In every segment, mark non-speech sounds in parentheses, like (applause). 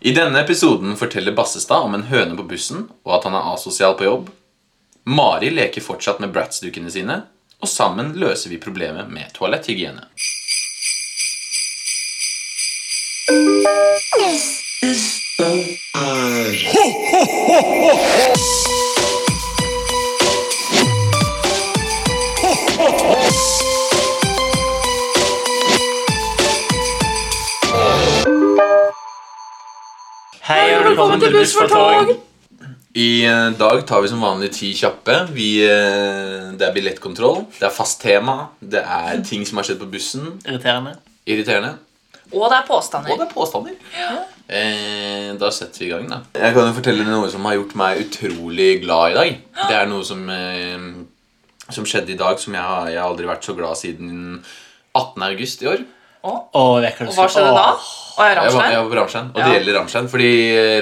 I denne episoden forteller Bassestad om en høne på bussen og at han er asosial på jobb. Mari leker fortsatt med Bratz-dukkene sine, og sammen løser vi problemet med toaletthygiene. Hei og velkommen til Buss for tog! I eh, dag tar vi som vanlig ti kjappe. Vi, eh, det er billettkontroll, det er fast tema, det er ting som har skjedd på bussen. Irriterende. Irriterende. Og det er påstander. Og det er påstander. Eh, da setter vi i gang, da. Jeg kan jo fortelle noe som har gjort meg utrolig glad i dag. Det er noe som, eh, som skjedde i dag, som jeg har, jeg har aldri vært så glad siden 18. august i år. Og vekker du Og hva skjedde da? Og jeg Jeg var, jeg Ramstein? var på Ramstein, og det Ja. gjelder Ramstein, fordi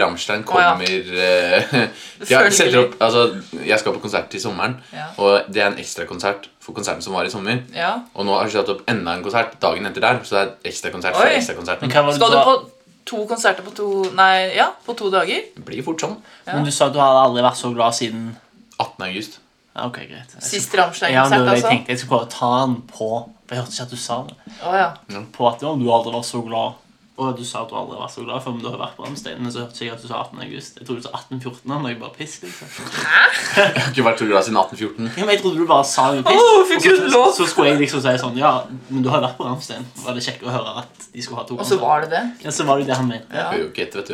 Ramstein Å, ja. kommer (laughs) eh, ja, Følgelig. setter opp, altså, Jeg skal på konsert til sommeren, Ja. og det er en ekstrakonsert for konserten som var i sommer. Ja. Og nå har de satt opp enda en konsert dagen etter der, så det er ekstrakonsert for Oi. ekstrakonserten. Men hva var det Skal du du på sa? to konserter på to Nei, ja, på to dager? Det blir fort sånn. Men du sa at du hadde aldri vært så glad siden 18. august. Ja, Ok, greit. Jeg Sist skal- ja, det Ramstein-konsert, var det jeg altså? tenkte jeg skulle prøve å ta den på For jeg hørte ikke at du sa det. Å ja. På at ja, du aldri var så glad. Og du sa at du aldri var så glad, for om du har vært på Ramstein. Men så hørte jeg at du sa 18. august. Jeg trodde du sa 1814. men jeg bare piss, liksom. Jeg har ikke vært så glad siden 1814. Ja, men jeg trodde du bare sa noe piss. Åh, fikk og Gud så, lov. så skulle jeg liksom si sånn Ja, men du har vært på Ramstein. Var det kjekt å høre at de skulle ha to Og så var det det. Ja, så var det det han mente. Ja. Hører jo ikke etter, vet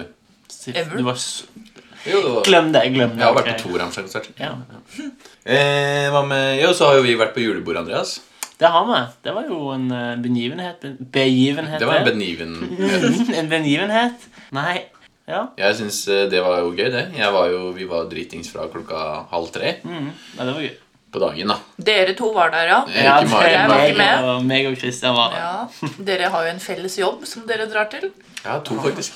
du. Ever? Du var s- Jo, det var... Glem det. Glem det. Jeg har vært på ok. to Ramstein-konserter. Ja. Eh, hva med Jo, så har jo vi vært på julebord, Andreas. Det har vi. Det var jo en eh, begivenhet be- Begivenhet? Det var en det. beniven (laughs) en begivenhet? Nei. Ja. Jeg syns det var jo gøy, det. Jeg var jo, vi var dritings fra klokka halv tre Mm. Nei, det var gøy. på dagen, da. Dere to var der, ja. Eh, ikke Mari, jeg var Mari. ikke med. og, meg og Christian var der. ja. Dere har jo en felles jobb som dere drar til. Ja, to faktisk.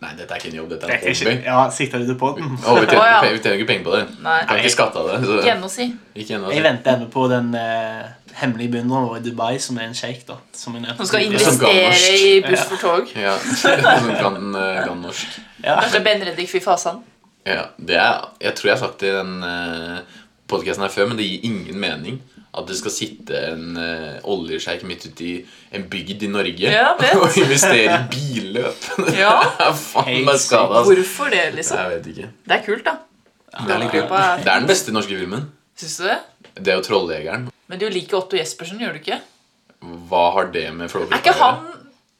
Nei, dette er ikke en jobb, dette er Dette er en ikke- hobby. Ja, sikta du på den? Og vi tjener, Å, ja. vi tjener ikke penger på det. Nei. Kan ikke skatte av det. Så. Ikke ennå, si. Ikke ennå, Jeg altså. venter ennå på den eh, hemmelige beundreren vår i Dubai, som er en sjeik. da. Som er Som skal som investere gammel. i Buss for tog. Ja, (laughs) Som kan, eh, kan norsk. Ja. Kanskje Ben-Reddik Fy Fasan. Ja, det er, jeg tror jeg har sagt det i den uh, podkasten her før, men det gir ingen mening at det skal sitte en uh, oljesjeik midt ute i en bygd i Norge Ja, jeg vet. (laughs) og investere i (laughs) billøp. Ja. det er faen Helt meg skada. Altså. Hvorfor det, liksom? Jeg vet ikke. Det er kult, da. Det er, litt kult. Hva er- det er den beste norske filmen. Syns du det? Det er jo 'Trolljegeren'. Men du liker Otto Jespersen, gjør du ikke? Hva har det med Flåklypa Er ikke han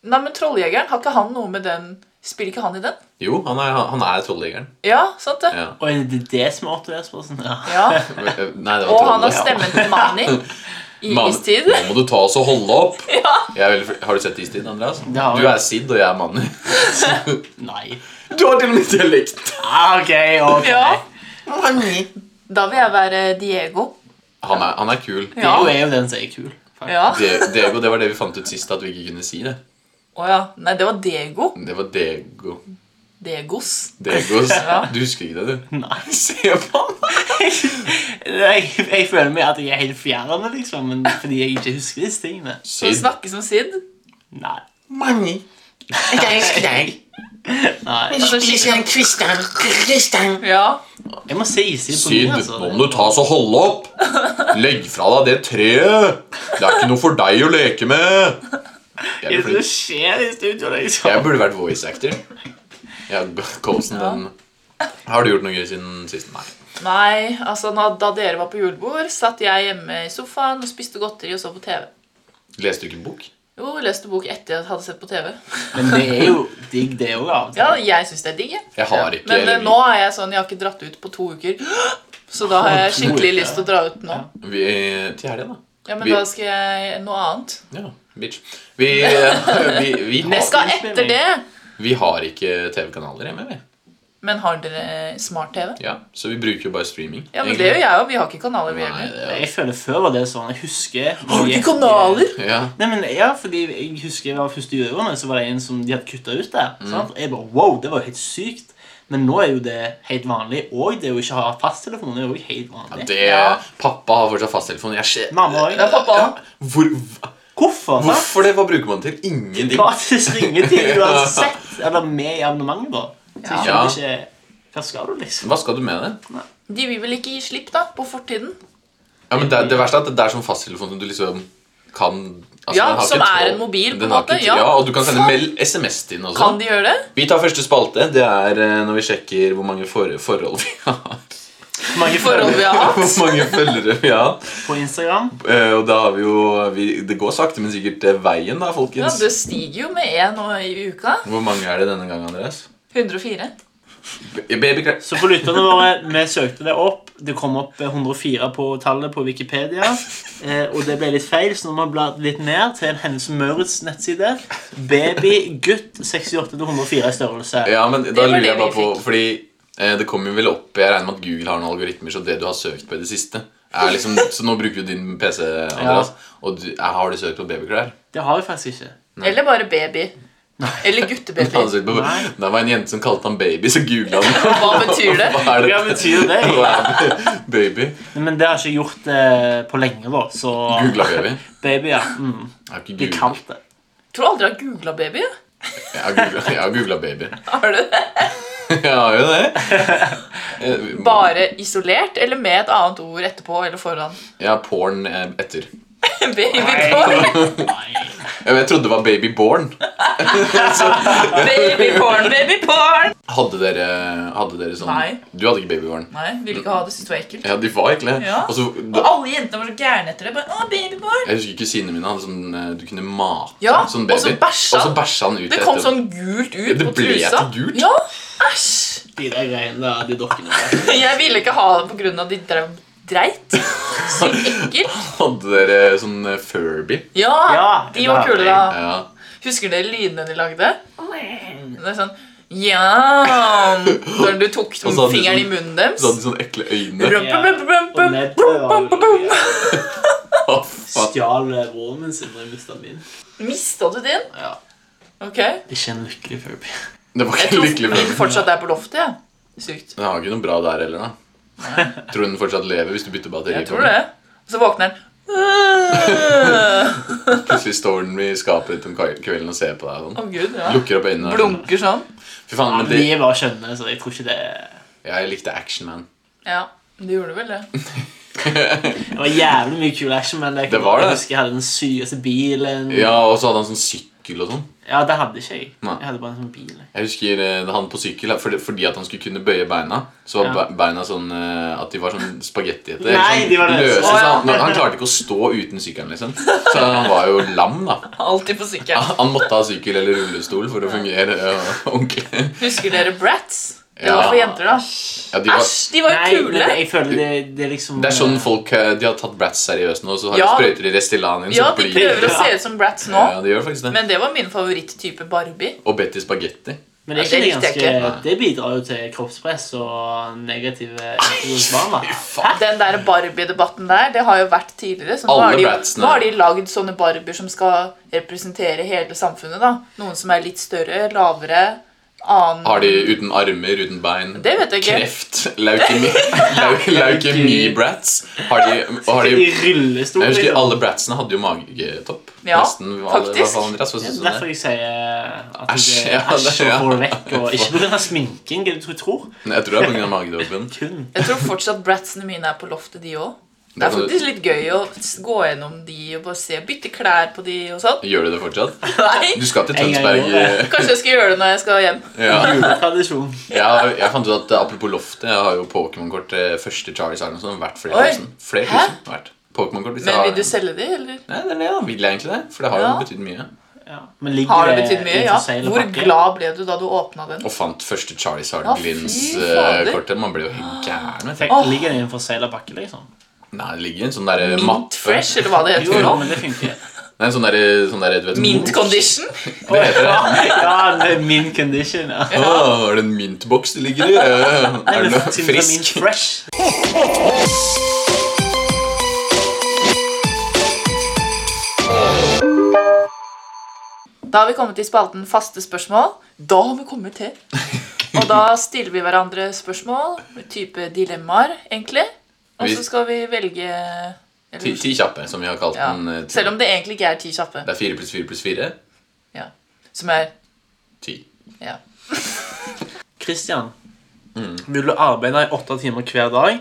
Nei, men Trolljegeren, har ikke han noe med den Spiller ikke han i den? Jo, han er, han er trolljegeren. Ja, sant det? Ja. Og er det det som er Otto Jespersen? Ja. Ja. (laughs) Nei, det var (laughs) Og han har trollet. stemmen til Mani i Man- Istid. (laughs) Nå må du ta oss og holde opp. Jeg er veldig, fl- har du sett Istid, Andreas? Det har du jeg. er Sid, og jeg er Manny. Nei. (laughs) Du har til og med dialekt. Ah, ok, ok. Ja. Manny. Da vil jeg være Diego. Han er, han er kul. Ja. Diego er jo den som er kul. faktisk. Ja. De- Diego, det var det vi fant ut sist, at vi ikke kunne si det. Å ja. Nei, det var Diego. Det var Diego. Diegos. Diegos. Ja. Du husker ikke det, du? Nei. Se på han. jeg, jeg føler meg at jeg er helt fjern, liksom, men fordi jeg ikke husker disse tingene. Som Sid. snakker som Sid. Nei. Manni, jeg elsker deg. Nei. Altså, Spiser en Christian. Christian. Ja. Jeg må se Isid på Sid, ny, altså. nå må du ta oss og holde opp. Legg fra deg det treet. Det er ikke noe for deg å leke med. Hva Jeg er det burde, som skjer i studio, liksom? jeg burde vært voice actor. Ja, Colson, den Har du gjort noe gøy siden sist? Nei. Nei, altså nå- da dere var på julebord, satt jeg hjemme i sofaen og spiste godteri og så på TV. Leste du ikke en bok? Jo, leste bok etter jeg hadde sett på TV. Men det er jo digg, det òg, av og til. Ja, jeg syns det er digg, jeg. Jeg har ikke Men eh, eller vi- nå er jeg sånn, jeg har ikke dratt ut på to uker. (gasps) Så da har jeg skikkelig lyst til å dra ut nå. vi, Til helga, da. Ja, men Vi- da skal jeg noe annet. Ja, bitch. Vi, eh, vi, (laughs) vi, Jeg har, skal etter det! vi har ikke TV-kanaler hjemme, vi. Men har dere smart-TV? Ja, så vi bruker jo bare streaming. Ja, men det gjør jeg òg. Vi har ikke kanaler, vi Nei, heller. det er Jeg føler før var det sånn. Jeg husker Har du ikke kanaler? jo ja. Nei, men ja, fordi jeg husker jeg var første videregående, så var det en som de hadde kutta ut der. Mm. sant? Jeg bare, wow, det var jo helt sykt. Men nå er jo det helt vanlig. Og det å ikke ha fasttelefon er jo også helt vanlig. det Ja. Pappa har fortsatt fasttelefon. Jeg ser Mamma òg. Ja, pappa. Hvor, hva- Hvorfor? sant? Hvorfor det? Hva bruker man til? Ingenting. Gratis ringetid uansett. Eller med i abonnementet, da. Så jeg Ja. skjønner ikke Hva skal du, liksom? Hva skal du med det? De vil vel ikke gi slipp da, på fortiden? Ja, men det, det verste er at det er sånn fasttelefon som du liksom kan altså, Ja, den har ikke som er tråd. en mobil, på Den en har ikke måte, tråd. ja. ja, og du kan sende meld SMS til den også. Kan de gjøre det? Vi tar første spalte. Det er eh, når vi sjekker hvor mange for forhold vi har. Mange Forhold vi følgere har (laughs) hatt? Hvor mange følgere vi har. på Instagram. Eh, Og da har vi jo vi, Det går sakte, men sikkert eh, veien, da, Ja, folkens. det stiger jo med én nå i uka. Hvor mange er det denne gangen, Andreas? 104. B- Baby Cra- Så for lytterne våre, vi søkte det opp. Det kom opp eh, 104 på tallet på Wikipedia. Eh, og det ble litt feil, så nå må vi bla litt ned til en Hennes Møritz nettside. Baby, gutt, 68 til 104 i størrelse. Ja, men da var lurer det jeg bare vi på Fordi eh, det kommer jo vel opp Jeg regner med at Google har noen algoritmer, så det du har søkt på i det siste er liksom, (laughs) Så nå bruker du din PC, Andreas, og du, eh, har du søkt på babyklær? Det har jeg faktisk ikke. Eller bare baby. Eller (laughs) Han har guttebaby. søkt på, Nei. det var en jente som kalte han baby, så googla han. Hva betyr det? (laughs) Hva er Hva det? betyr det? Hva er det? Baby? Men det har jeg ikke gjort eh, på lenge, da. Så Googla baby? baby, ja. Mm, Jeg har ikke blir googlet- kaldt, det. Tror aldri jeg har googla baby. Jeg har googlet- jeg har googla baby. (laughs) Har du det? Jeg har jo (laughs) det. Eh, Bare isolert, eller med et annet ord etterpå eller foran? (laughs) Jeg har porn eh, etter. Baby porn. Ja, men Jeg trodde det var baby born. Baby porn, baby porn. Hadde dere, hadde dere sånn Nei. Du hadde ikke baby born. Nei, ville ikke ha det, syntes det var ekkelt. Ja, de var egentlig det. Ja. Og så, Og da, alle jentene var så gærne etter det. Bare, å, baby porn. jeg husker kusinene mine hadde sånn eh, Du kunne mate Ja, sånn og så baby. bæsja og så han. bæsja han ut Det kom etterpå. sånn Ja, gult ut det på ble trusa. etter gult. Ja, æsj. De der greiene der, de dokkene der. Jeg ville ikke ha det på grunn av de drev dreit. Sykt ekkelt. Hadde dere sånn eh, Furby? Ja, Ja, de var det kule, hadde da. Ja. Husker dere lydene de lagde? Det er sånn Ja Når du tok Og så hadde de fingeren i sånn- munnen Så hadde sånn- de sånne deres. ekle øyne. Rum, bum, bum, bum, Og bum, Ned bum, bum, bum, bum. Å, faen. stjal eh, broren min sin da jeg mista min. Mista du din? Ja. Ok. Ikke en lykkelig Furby. Det var Jeg ikke tror lykkelig min Furby. fortsatt er på loftet. Ja. Sykt. Den har ikke noe bra der heller, da. Tror du den fortsatt lever hvis du bytter batteri? Jeg på tror den? det. Og så våkner den. Plutselig står den i skapet ditt om kvelden og ser på deg. og Å, Sånn. gud. ja Lukker opp øynene. og er sånn, Blunker sånn. Fy faen, men De det, er bare skjønne, så jeg tror ikke det jeg likte Action Man. Ja, det gjorde vel det. (laughs) Det var jævlig mye kul action, men det, Det var det. jeg husker jeg hadde den sykeste bilen. Ja, Og så hadde han sånn sykkel og sånn. Ja, det hadde ikke jeg. Nei. Jeg hadde bare en sånn bil. Jeg husker eh, han på sykkel fordi, fordi at han skulle kunne bøye beina. Så var Ja. be- beina sånn eh, at de var sånn spagettihete. Nei, sånn de var løse. løse. Å, Så ja. han, han klarte ikke å stå uten sykkelen, liksom. Så han var jo lam, da. Alltid på sykkelen. Han måtte ha sykkel eller rullestol for å fungere eh, ordentlig. Husker dere Bratz? Det Ja. var for jenter, da. Ja, de var, Æsj, de var jo men kule. jeg føler det, det er liksom det er sånn folk eh, De har tatt Bratz seriøst nå, og så har Ja. de sprøyter i Restylan inn. Ja, så de det blir prøver å se ut som Bratz nå. Ja, de gjør faktisk det. Men det var min favoritttype Barbie. Og Betty Spagetti. Men det, er Ja, det ikke det, likte jeg ganske, det bidrar jo til kroppspress og negative barna. Den der Barbie-debatten der, det har jo vært tidligere. Så nå Alle har, de, Bratzene. nå har de lagd sånne Barbier som skal representere hele samfunnet. da. Noen som er litt større, lavere, annen Har de uten armer, uten bein? Det vet jeg ikke. Kreft? Leukemi? (laughs) lau- Leukemi-brats? Har de, og har de I rullestol. Jeg husker liksom. alle bratsene hadde jo magetopp. Ja, Nesten alle, i hvert faktisk. fall Andreas, hva Det synes er du om derfor det? jeg sier at Æsj, jeg ja, det- æsj og ja. får det vekk. Og ikke pga. sminking, hva du tror. Jeg tror det er på grunn av magetoppen. Kun. Jeg tror fortsatt bratsene mine er på loftet, de òg. Det Da er kan du- faktisk litt gøy å s- gå gjennom de og bare se, bytte klær på de og sånn. Gjør du det fortsatt? Nei, Du skal til En gang i Tønsberg eh, året. Kanskje jeg skal gjøre det når jeg skal hjem. ja. (laughs) Juletradisjon. jeg, jeg fant ut at eh, apropos loftet, jeg har jo Pokémon-kort eh, første Charlie Sargon som verdt flere Oi. tusen. Flere Hæ? tusen verdt. Pokémon-kort hvis jeg Men har vil du selge de, eller? Nei, det er det, da. Vil jeg egentlig det? For det har jo Ja. betydd mye. Ja. Men ligger Har det betydd mye? i Ja. forseglet Hvor pakke? glad ble du da du åpna den? Og fant første Charlie Ja, fy fader. Sargon-glins-kortet. Man blir jo helt gæren. vet du. Tenk, Ligger det i en forsegla pakke, liksom? Nei, det ligger en sånn derre Mint mappe fresh, eller hva det heter Jo, for jo, noe? men det (laughs) funker. Nei, en sånn derre sånn der, du vet Mint condition? Hva heter det? (laughs) Ja, det er min condition. Ja. Åh, er det en mintboks det ligger i? Ja, ja, ja. Er det noe Syns det er min frisk? fresh. Da har vi kommet til spalten faste spørsmål. Da har vi kommet til. Og da stiller vi hverandre spørsmål, type dilemmaer, egentlig. Og så Vi- skal vi velge Ti, eller, ti kjappe, som vi har kalt ja. den. eh, til- Selv om det egentlig ikke er ti kjappe. det er fire pluss fire pluss fire. Som er Ti. Ja. Christian, Mm. vil du arbeide i åtte timer hver dag,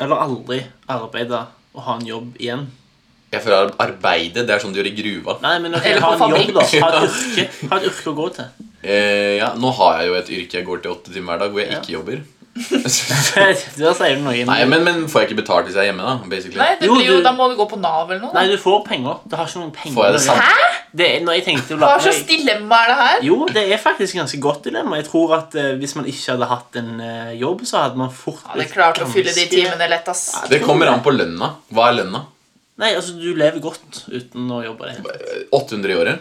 eller aldri arbeide og ha en jobb igjen? Jeg føler arbeide, det er sånn du gjør i gruva. Nei, men ok, Eller ha på en jobb, da. fabrikk. Ha et yrke, ha et yrke å (laughs) gå til. Eh, ja, nå har jeg jo et yrke jeg går til åtte timer hver dag, hvor jeg Ja. ikke (laughs) jobber. Der sier du noe. Nei, men, men får jeg ikke betalt hvis jeg er hjemme, da? basically? Nei, det Jo, blir jo, du- da må du gå på Nav eller noe. Nei, da. du får penger. Du har ikke noen penger. Får jeg det samme? Det er når jeg tenkte å la Hva slags dilemma er det her? Jo, det er faktisk et ganske godt dilemma. Jeg tror at eh, Hvis man ikke hadde hatt en eh, jobb, så hadde man fort Ja, det er blitt klart å fylle de ganske- timene lett, ass. Det kommer an på lønna. Hva er lønna? Nei, altså, du lever godt uten å jobbe. Det. Eh, 800 i året?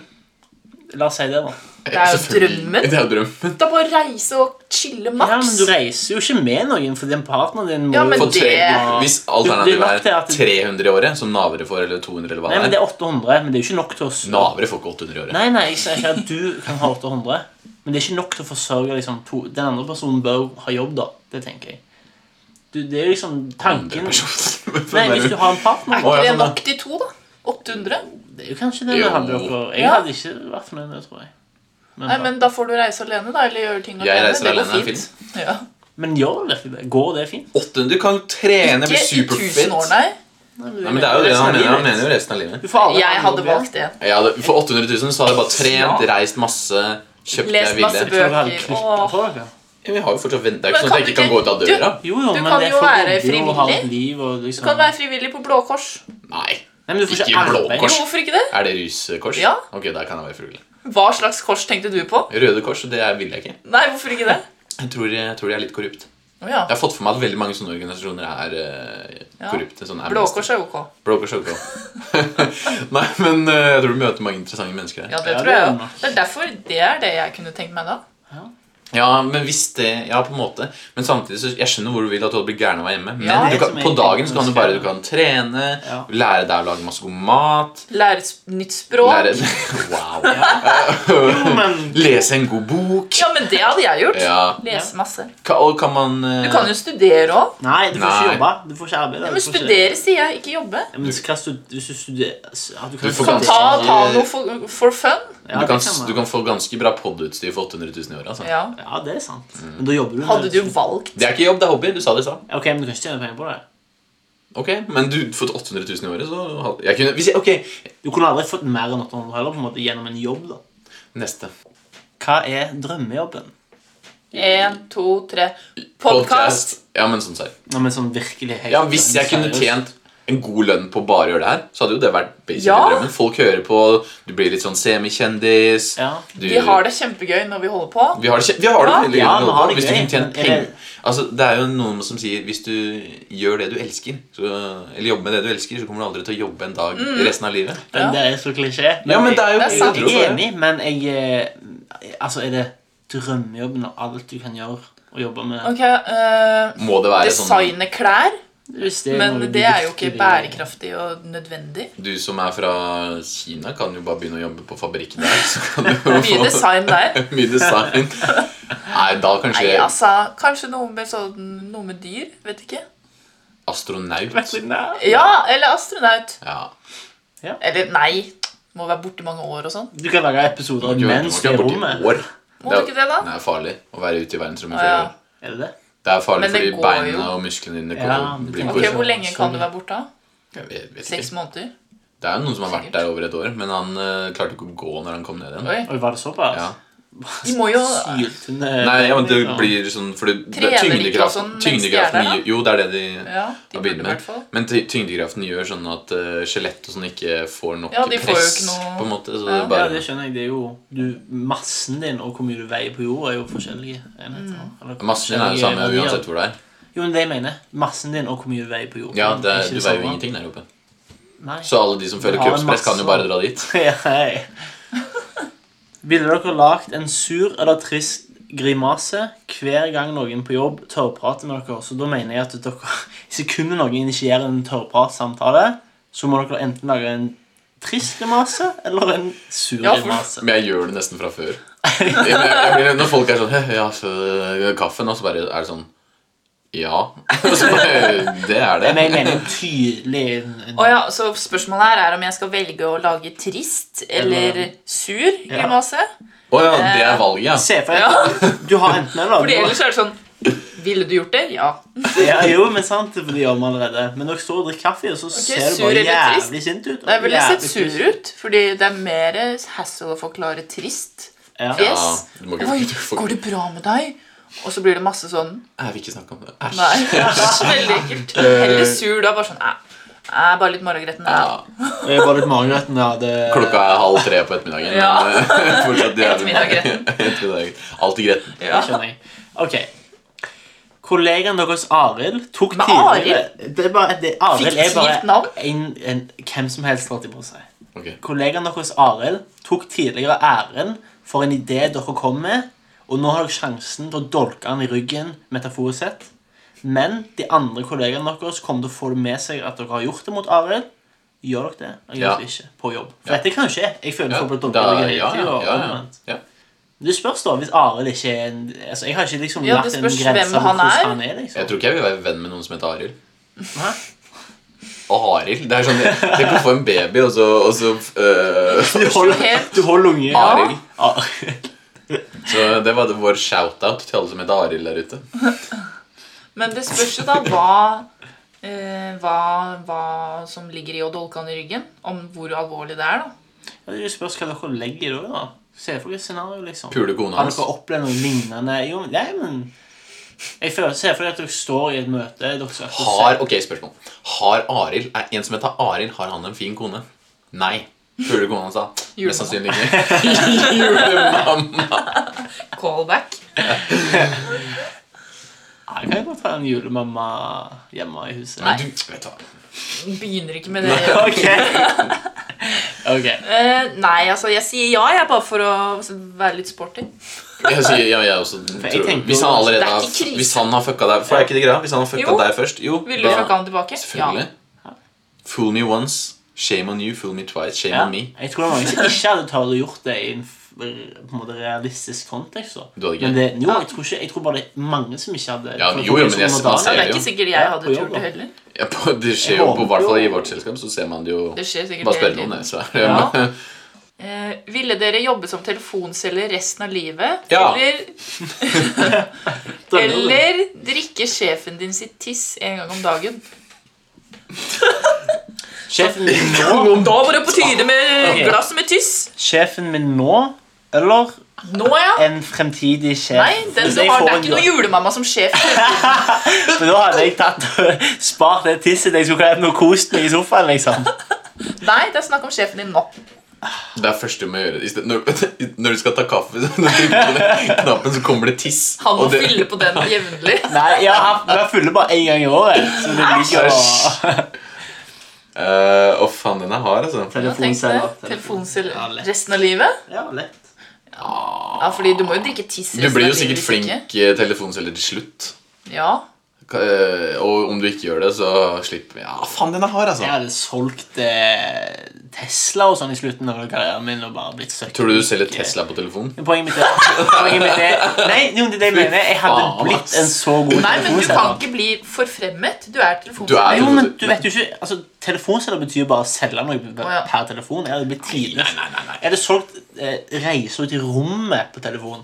La oss si det, da. Det er jo Selvfølgelig. drømmen. (laughs) Det er jo drømmen. Da bare reise og chille maks. Ja, men du reiser jo ikke med noen, for den partneren din må Ja, men For tre, det- hvis Det er nok alternativet til er at- 300 i året, som navere får, eller 200, eller hva Nei, men det det er er 800, men det er jo ikke nok til å s- Navere får ikke 800 i året. Nei, nei, jeg sier ikke at du kan ha 800, men det er ikke nok til å forsørge liksom, to Den andre personen bør ha jobb, da. Det tenker jeg. Du, det er jo liksom Andre tanken personer. Nei, (laughs) hvis du har en Å, ja, partner Er det sånn, ja. nok til to, da? 800? Det er jo kanskje det Jo. vi hadde dere Jeg Ja. hadde ikke vært fornøyd med det, tror jeg. Men, Nei, men da får du reise alene, da. Eller gjøre ting Jeg reiser Det går alene, det er fint. Ja. men gjør det virkelig det? Går det fint? 800 Du kan jo trene, bli Ikke i tusen år, superfit. nei. Nei, Nei, men det er jo det han mener. Han mener jo resten av livet. Du får alle Jeg hadde valgt det. Ja, det- for 800 000 så hadde jeg bare trent, Ja. reist masse, kjøpt det Lest jeg ville. masse Jeg tror du hadde Bøker, knytta åh. på dere. Ja, Vi har jo fortsatt vent. Det er ikke Men sånn at kan jeg ikke du kan gå ut av ikke- døra. Jo, jo, Du men kan det jo være forandrer jo å ha frivillig. et liv og Du liksom kan være frivillig på Blå Kors. Nei. Nei, men du får Ikke ikke, i Blå arbeid. Kors. Jo, Hvorfor ikke det? Er det ruskors? Ja. Ok, der kan jeg være frivillig. Hva slags kors tenkte du på? Røde kors, det er- vil jeg ikke. Nei, hvorfor ikke det? Jeg tror, jeg tror de er litt korrupt. Å ja. Jeg har fått for meg at veldig mange sånne organisasjoner er eh, Ja. korrupte. Sånn Blå Amnesty. Kors er ok. Blå Kors er ok. (laughs) Nei, men eh, jeg tror du møter mange interessante mennesker her. Ja, det Ja, tror det er jeg den, jo. da. Det er derfor det er det jeg kunne tenkt meg da. Ja, men hvis det Ja, på en måte. Men samtidig så Jeg skjønner hvor du vil at du hadde blitt gæren av å være hjemme. Men Ja. du Det er kan, som på jeg dagen tenker så kan du når bare jeg du kan trene, Ja. lære deg å lage masse god mat Lære et nytt språk. lære, (laughs) Wow. (laughs) Jo, men Lese en god bok. Ja, men det hadde jeg gjort. Ja. Lese masse. Ka- Og kan man eh, Du kan jo studere òg. Nei, du får Nei. ikke jobbe. Du får ikke arbeide. Men du får ikke- studere, sier jeg, ikke jobbe. Ja, men hva stud- hvis du studerer ja, Du Du kan får Kan ganske- ta, ta noe for, for fun. Ja, du, det kan, kan man. du kan få ganske bra podutstyr for 800 000 i året. Altså. Ja. Ja, det er sant. Mm. Men da jobber du med- Hadde du valgt Det er ikke jobb, det er hobby. Du sa det i stad. Ok, men du kan ikke tjene penger på det. Ok, men du fått 800 000 i året, så hadde- jeg kunne, hvis jeg, Ok, Du kunne aldri fått mer enn 800 heller på en måte gjennom en jobb. da neste. Hva er drømmejobben? én, to, tre Podkast. Podcast. Ja, men sånn serr. Ja, men sånn virkelig helt Ja, hvis jeg kunne seriøst. tjent en god lønn på å bare å gjøre det her, så hadde jo det vært basically Ja. drømmen. Folk hører på, du blir litt sånn semikjendis. Ja. Du, Vi har det kjempegøy når vi holder på. Vi har det, kje- vi har det Ja, veldig ja, gøy nå, vi har det hvis du gøy, kunne tjent men er penger. det- Altså, det er jo noen som sier hvis du gjør det du elsker, så, eller jobber med det du elsker, så kommer du aldri til å jobbe en dag resten av livet. Den der er så klisjé. Ja, men det er jo Det er sant. Jeg er enig, men jeg eh, Altså, er det drømmejobben og alt du kan gjøre og jobbe med Ok, eh, Må det være sånn Designe klær, Hvis det men noe du det er jo ikke virkelig- bærekraftig og nødvendig. Du som er fra Kina, kan jo bare begynne å jobbe på fabrikken der. Så kan du jo (laughs) Mye få design der. mye design. Nei, da Nei, kanskje altså, Kanskje noe med, sånn, noe med dyr? Vet ikke. astronaut. Veterinær. Ja, eller astronaut. Ja. Eller nei. Må være borte i mange år og sånn. Du kan lage episoder Du må mens du ikke er i være borte i rommet. år. Må du ikke det, da? Det er farlig å være ute i verdensrommet i Å, flere ja. år. Er det det? Det er farlig Men det fordi går beina jo. og musklene dine Ja, går- sånn det blir tenker Ok, jeg. korset. Hvor lenge kan du være borte? da? Jeg vet- vet ikke. Seks måneder? Det er jo noen som har vært Sikkert. der over et år, men han eh, klarte ikke å gå når han kom ned igjen. Oi. Oi, var det såpass? Ja. De må jo Syltynne Nei, ja, men det blir sånn For det, det Trener de ikke og tyngdekraften, sånn mens de er tyngdekraften der, da? gir- Jo, det er det de Ja, de har burde i begynt hvert med. fall. Men ty- tyngdekraften gjør sånn at eh, skjelett og sånn ikke får nok Ja, de får jo press. ikke noe- På en måte, så Ja. det Ja, bare det skjønner jeg. Det er jo du, Massen din og hvor mye du veier på jorda, er jo forskjellige enheter. Mm. Eller Massen din er jo forskjellige samme verdier. uansett hvor det er. Jo, men det jeg mener. Massen din og hvor mye du veier på jorda. Ja, det, er er- ikke Du det veier jo samme. ingenting der oppe. Nei. Så alle de som føler Du har en kroppspress, kan masse- sånn- jo bare dra dit. Ja, hei. Ville dere lagt en sur eller trist grimase hver gang noen på jobb tørrprater med dere? Så da mener jeg at dere i sekundet noen initierer en tørrpratsamtale, så må dere enten lage en trist grimase eller en sur Ja, for- grimase. Men jeg gjør det nesten fra før. Jeg, jeg blir, når folk er sånn «Hæ, Ja, så kaffen, og så bare er det sånn Ja. (laughs) Og så bare, det er det. Men jeg mener en tydelig en, en, Å ja, så spørsmålet her er om jeg skal velge å lage trist eller sur grimase. Å ja, det Eh, er valget, ja. Se for Ja. deg at du har enten eller. (laughs) Fordi Du har- ellers er det sånn Ville du gjort det? Ja. Ja, jo, men sant, for det gjør vi allerede. Men dere står og drikker kaffe, og så ser du sur bare eller trist? jævlig sint ut. og Da ville jeg sett jævlig sur trist. ut, fordi det er mer hassle å forklare trist. Ja. Ja. ja Yes. du må ikke, Oi, du får, går det bra med deg? Og så blir det masse sånn jeg vil ikke snakke om det. Æsj. Nei. (laughs) Veldig ekkelt. Heller sur da. Bare sånn Æ, æ bare litt morgengretten. æ. Ja, Jeg var litt mageretten. Ja, det... klokka er halv tre på ettermiddagen. Ja. men, eh, (laughs) fortsatt jævlig- Ettermiddag-gretten. (laughs) Ettermiddag. Alltid gretten. Ja. skjønner jeg. Ok. Kollegaen deres Arild tok Men tidligere det er bare, det, Arild er Fiktivt bare navn? en, en, hvem som helst holdt jeg på å si. Ok. Kollegaen deres Arild tok tidligere æren for en idé dere kom med, og nå har dere sjansen til å dolke den i ryggen, metaforisk sett. Men de andre kollegaene deres kommer til å få det med seg at dere har gjort det mot Arild. Gjør dere det? Eller gjør Ja. dere det ikke? På jobb. For Ja. dette kan jo skje. Jeg føler Ja, for å da, dolke i ryggen ja, hele tiden, ja, og ja, ja. omvendt. ja. Det spørs da, hvis Arild ikke er en altså, Jeg har ikke liksom Ja, det lagt en spørs grense hvem mot han hvordan er. han er liksom. Jeg tror ikke jeg vil være venn med noen som heter Arild. Hæ? Og Arild. Det er sånn, Tenk å få en baby, og så, og så (laughs) øh, Du holder, Helt- du holder unge. Arild. Arild. Så det var vår shout-out til alle som heter Arild der ute. Men det spørs jo da hva, eh, hva, hva som ligger i å dolke han i ryggen. Om hvor alvorlig det er, da. Ja, Det spørs hva dere legger i det, da. Se for dere et scenario, liksom. Pule kona Har hans. dere opplevd noe lignende? Jo, men- nei, men Jeg føler, Se for dere at dere står i et møte dere skal Har, ok, spørsmål. Har Arild er En som heter Arild, har han en fin kone? Nei. Hørte kona sa. Mest (laughs) sannsynlig ikke. Julemamma. Callback. Nei, Jeg kan jo godt ha en julemamma hjemme i huset. Men du, vet du hva. Begynner ikke med det. Ok. (laughs) Ok. Eh, nei, altså, jeg sier ja, jeg, bare for å være litt sporty. Jeg sier, ja, jeg også tror, tenker hvis han jo- allerede Det er har, ikke krise. hvis han har fucka deg For er ikke det greia? Hvis han har fucka Jo. deg først Jo, Vil du da- fucke han tilbake? Selvfølgelig. Fool me once, shame on you. Fool me twice, shame Ja. on me. Jeg tror det var mange som ikke hadde turt å gjort det i en f- på en måte realistisk kontekst. da. Du hadde ikke? Men det, jo, jeg tror, ikke, jeg tror bare det er mange som ikke hadde Ja, for- jo, jo, men sånn for- jeg- som man var ser Ja, da. det er jo. ikke sikkert jeg hadde på jobb, gjort det da. heller. Ja, på, det skjer jo håper på hvert fall i jo- vårt selskap, så ser man det jo Det skjer sikkert Bare spør hele noen, jeg, tiden. så er det (laughs) Ja. men- Eh, ville dere jobbe som telefonselger resten av livet? Ja. Eller, eller drikke sjefen din sitt tiss en gang om dagen? Sjefen min (laughs) nå, Da var det på tide med Ok. glass med tiss. sjefen min nå eller Nå, ja. en fremtidig sjef. Nei, den Hvis som jeg eh, har, får det er en ikke noe jobb. julemamma som sjef. For Da hadde jeg tatt og (laughs) spart det tisset jeg skulle kledd med og kost meg i sofaen. liksom. Nei, det er snakk om sjefen din nå. Det er første du må gjøre. I sted- Når, (laughs) når du skal ta kaffe, (laughs) så når du trykker på den knappen, så kommer det tiss. Han må Og det- fylle på den jevnlig. (laughs) Nei, jeg har, jeg fyller bare én gang i året. så det ligger og... Eh, Å, faen, den er hard, altså. Ja, tenk det. Telefonselger resten av livet? Ja, lett. Ja, fordi du må jo drikke tiss Du resten blir jo av sikkert livet hvis flink ikke. eh, telefonselger til slutt. Ja. Ka- eh, Og om du ikke gjør det, så slipper Ja, faen, den er hard, altså. Jeg hadde solgt eh, Tesla og sånn i slutten av karrieren min og bare blitt søkk. Tror du du selger Tesla på telefon? Poenget mitt er, poenget mitt er Nei, jo, det er det jeg mener. Jeg hadde faen, blitt ass. en så god Nei, men du kan telefonselger. ikke bli forfremmet. Du er Du telefonselger. er Jo, men du vet jo ikke altså, Telefonselger betyr bare å selge noe ja. per telefon. Jeg hadde blitt tidlig. Jeg hadde solgt eh, reiser ut i rommet på telefon.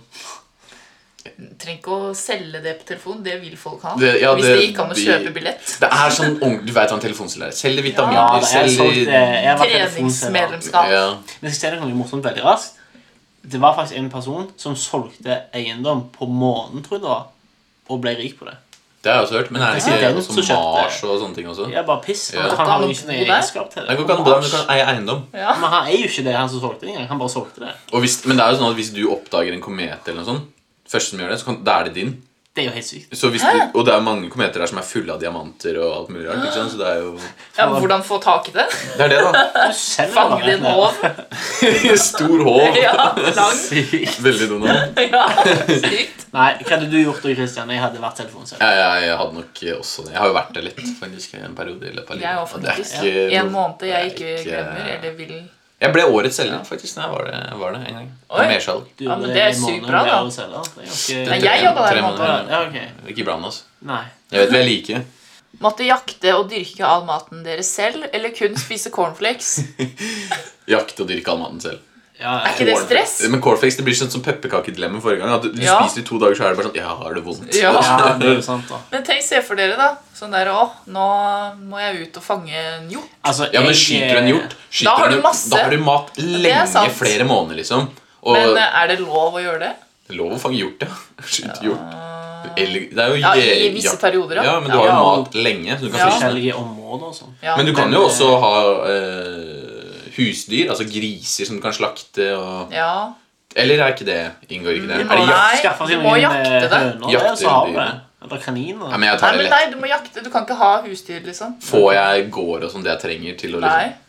Trenger ikke å selge det på telefon. Det vil folk ha. Det- ja, Hvis det- det gikk an å de- kjøpe billett. Det er sånn ung- Du vet hva en telefonselger er. Selger Ja, vitaminer, da, sånn, jeg solgte selger eh, jeg var telefonselger. Treningsmedlemskap. ja. Men jeg skal si deg noe morsomt veldig raskt. Det var faktisk en person som solgte eiendom på månen, tror jeg det var, og ble rik på det. Det har jeg også hørt. Men er det Det er ikke den også som kjøpte- Mars og sånne ting også? Det er bare piss. Ja. Han har jo ikke Kan han noe bo der? egenskap til Nei, det. går ikke an å bo der, men du kan eie eiendom. Ja. Men han er jo ikke det, han som solgte det engang. Han bare solgte det. Og hvis, men det er jo sånn at hvis du oppdager en komet eller noe sånt, første som gjør det, så kan, da er det din. Det er jo helt sykt. Så hvis du, og det er mange kometer der som er fulle av diamanter og alt mulig rart. ikke sant? Så det er jo Ja, men hvordan få tak (laughs) i det? Det er det, da. Du selger Fange bare det det. nå? Stor håv. (laughs) Ja, lang. Sykt. Veldig Donald. Ja, sykt. Nei, hva hadde du gjort da, Christian? Jeg hadde vært telefonselger. Jeg, jeg, jeg hadde nok også det. Jeg har jo vært det litt faktisk en periode i løpet av livet. Jeg er jo Og det er faktisk ikke En noe- måned jeg det ikke er glemmer eller vil Jeg ble årets selger, faktisk. Nei, var det, var det en gang. Oi. Mersalg. Du Ja, men gjorde det er i måneden sykt bra, med da. å selge. Det er ganske- Nei, jeg jobba der en måned. Ja, ok. Ikke bland oss. Nei. Jeg vet vi er like. Måtte jakte og dyrke all maten deres selv, eller kun spise cornflakes? Jakte og dyrke all maten selv. Ja, Er ikke det stress? Men cornflakes det blir sånn som pepperkakedilemma forrige gang. At du, du Ja. spiser det i to dager, så er det bare sånn Ja, er det vondt? Ja. Ja, det (laughs) er sånn. jo sant, da. Men tenk, se for dere, da. Sånn der, å, nå må jeg ut og fange en hjort. Altså, Ja, men jeg- skyter du en hjort, skyter Da har en- du masse. da har du mat lenge, sant. flere måneder, liksom. Og Men eh, er det lov å gjøre det? lov å fange hjort, ja. (laughs) Skyte hjort. Eller, det er jo Ja, je- i visse perioder, Ja, ja. men du har jo Ja, og- mat lenge. Så du kan Ja. fiske. eh, Forskjellige områder og sånn. Ja. Men du kan men, jo eh, også ha eh, husdyr, altså griser som du kan slakte og Ja. Eller er ikke det? Inngår ikke det? Du må Er det jakt? Nei, Skaffe seg du må noen jakte eh, det. høner Jakte der, så har du dyr. det. Eller kaniner. Nei, men jeg Nei, tar det men lett. nei, du må jakte. Du kan ikke ha husdyr, liksom. Får jeg gård og sånn det jeg trenger til å Nei. liksom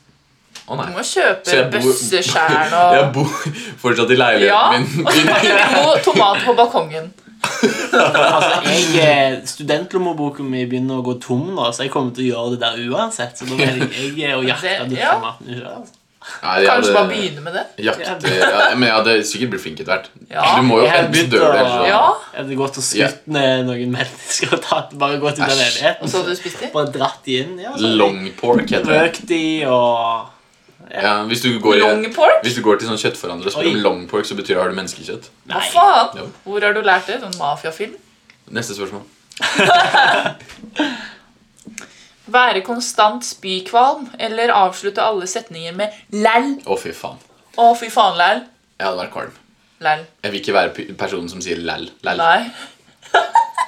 Å, Du nei. må kjøpe jeg bor- (laughs) bøsseskjern Jeg og bor fortsatt i leiligheten Ja. (laughs) min. (laughs) Og tomater på balkongen. Altså, Jeg, eh, Studentlommeboka mi begynner å gå tom nå, så jeg kommer til å gjøre det der uansett. Så da velger jeg eh, å jakte Det- disse Altså, ja. matene selv. Nei, jeg Kanskje hadde- bare begynne med det. Jakte ja, Men jeg hadde sikkert blitt flink etter hvert. Ja. Du må jo Jeg hadde enten begynt dø å- eller sånn. så. Ja. Jeg hadde gått og skutt ned noen mennesker og tatt, bare gått ut av Æsj. Og leiligheten. så hadde du spist de. Bare dratt de inn. Ja, så Long pork heter det. Røkt de og Ja, hvis, du går i, Long pork? hvis du går til sånn kjøttforhandler og spør Oi. om long pork, så betyr det har du menneskekjøtt. Hva Nei. Jo. faen? Hvor har du lært det? Sånn mafiafilm? Neste spørsmål. Være konstant spykvalm eller avslutte alle setninger med læll. Å, fy faen. Å, fy faen, læll. Jeg hadde vært kvalm. Læll. Jeg vil ikke være p- personen som sier lall. lall. Nei. (laughs)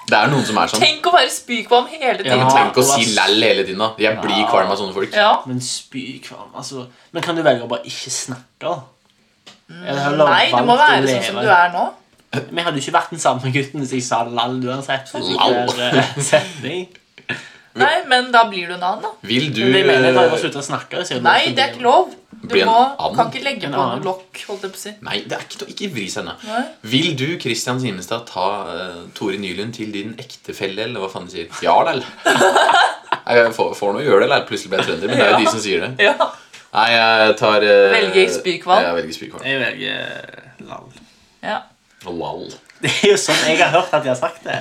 Det er noen som er sånn. Tenk å være spykvalm hele tiden. Men Ja. Tenk å si lall hele tiden, da. Jeg blir kvalm av sånne folk. Ja. Men spykvalm altså. Men kan du velge å bare ikke snakke? da? Jeg hadde Mm, Nei, du må valgt å være sånn som leve- du er nå. Men jeg hadde jo ikke vært den samme gutten hvis jeg sa lall uansett. for Lall. det er, eh, (laughs) setning. Nei, men da blir du en annen, da. Vil du Men det mener jeg da jeg må eh, slutte å snakke. Så jeg må Nei, det er ikke lov. Du Bli en må, annen. kan ikke legge på En noe annen. lokk, holdt jeg på å si. Nei, det er ikke noe. Ikke vri seg unna. Nei. Vil du, Christian Simenstad, ta eh, Tore Nylund til din ektefelle, eller hva faen de sier? Ja, (laughs) lall. Nei, Jeg får, får noe å gjøre det, eller plutselig ble jeg trønder, men det er jo de som sier det. Ja. Nei, jeg tar eh, Velger spykvalm? Jeg velger spykvalm. Jeg velger eh, lall. ja. Lall. Det er jo sånn jeg har hørt at de har sagt det.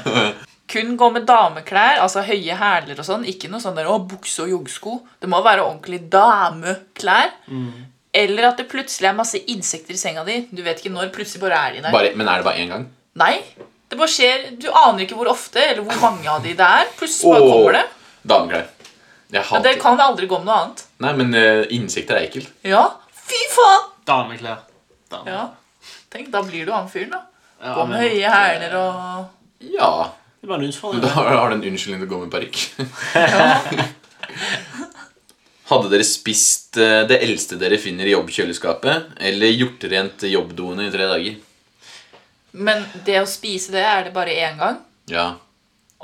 Kun gå med dameklær, altså høye hæler og sånn. Ikke noe sånn der, å, bukse og joggesko. Det må være ordentlig dameklær. Mm. Eller at det plutselig er masse insekter i senga di. Du vet ikke når. Plutselig bare er de der. Bare, men er det bare én gang? Nei. Det bare skjer. Du aner ikke hvor ofte eller hvor mange av de det er. Plutselig bare kommer det. Åh, Dameklær. Jeg Men hater det kan aldri gå om noe annet. Nei, men eh, insekter er ekkelt. Ja. Fy faen! Dameklær. Dame. Ja. Tenk, da blir du han fyren, da. Ja, Gå men- med høye hæler og Ja. Det er bare en Men utfordring. Da da. har har du en unnskyldning til å gå med (laughs) parykk. Hadde dere spist eh, det eldste dere finner i jobbkjøleskapet, eller hjorterent jobbdoene i tre dager? Men det å spise det, er det bare én gang. Ja.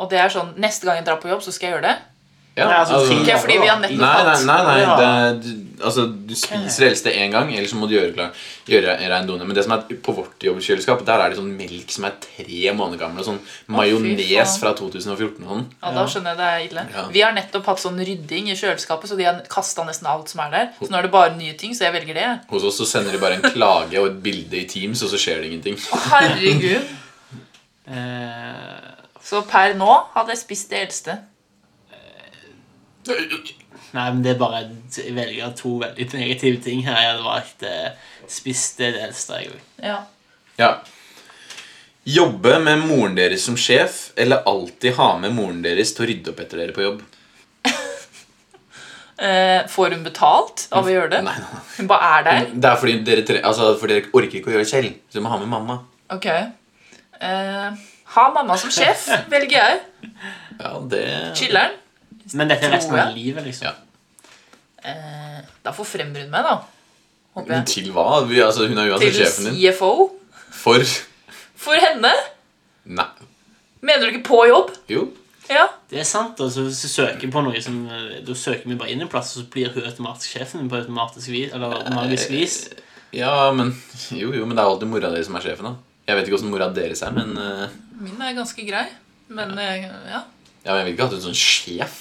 Og det er sånn Neste gang jeg drar på jobb, så skal jeg gjøre det. sånn ja Nei, altså, tre Ikke fordi vi har Nei, nettopp nei, hatt nei, nei. Ja. Det, er- du, altså, du spiser det eldste én gang, eller så må du gjøre klar Gjøre rein done. Men det som er på vårt jobbkjøleskap, der er det sånn melk som er tre måneder gammel, og sånn majones faen. fra 2014 og sånn. Ja, da skjønner jeg det er ille. Ja. Vi har nettopp hatt sånn rydding i kjøleskapet, så de har kasta nesten alt som er der. Så nå er det bare nye ting, så jeg velger det. jeg. Hos oss så sender de bare en klage og et bilde i Teams, og så skjer det ingenting. (laughs) Herregud. Eh, Så per nå hadde jeg spist det eldste. nei, men det er bare Jeg velger to veldig negative ting her. Jeg hadde valgt eh, spist det eldste. Jeg òg. Ja. Ja. Jobbe med moren deres som sjef, eller alltid ha med moren deres til å rydde opp etter dere på jobb? Eh, får hun betalt av å gjøre det? Mm. Nei, Mm. nei, nei. Hun bare er der? Det er fordi dere, tre, altså, fordi dere orker ikke å gjøre det selv. Så dere må ha med mamma. Ok. Eh, ha mamma som sjef, (laughs) velger jeg. Ja, det Chiller'n. Men dette er resten Tror av jeg. livet, liksom. Ja. Eh, da forfremmer hun meg, da. Håper Men jeg. til hva? Vi, altså, hun er uansett Til sjefen din. CFO. For For henne? Nei. Mener du ikke på jobb? Jo. Ja. Det er sant. altså Hvis du søker på noe som eh, Da søker vi bare inn en plass, og så blir hun automatisk sjefen min på automatisk vis. Eller magisk vis. Ja, men Jo, jo, men det er alltid mora deres som er sjefen, da. Jeg vet ikke åssen mora deres er, men eh, Min er ganske grei. Men eh, ja. ja, men Jeg vil ikke ha en sånn sjef.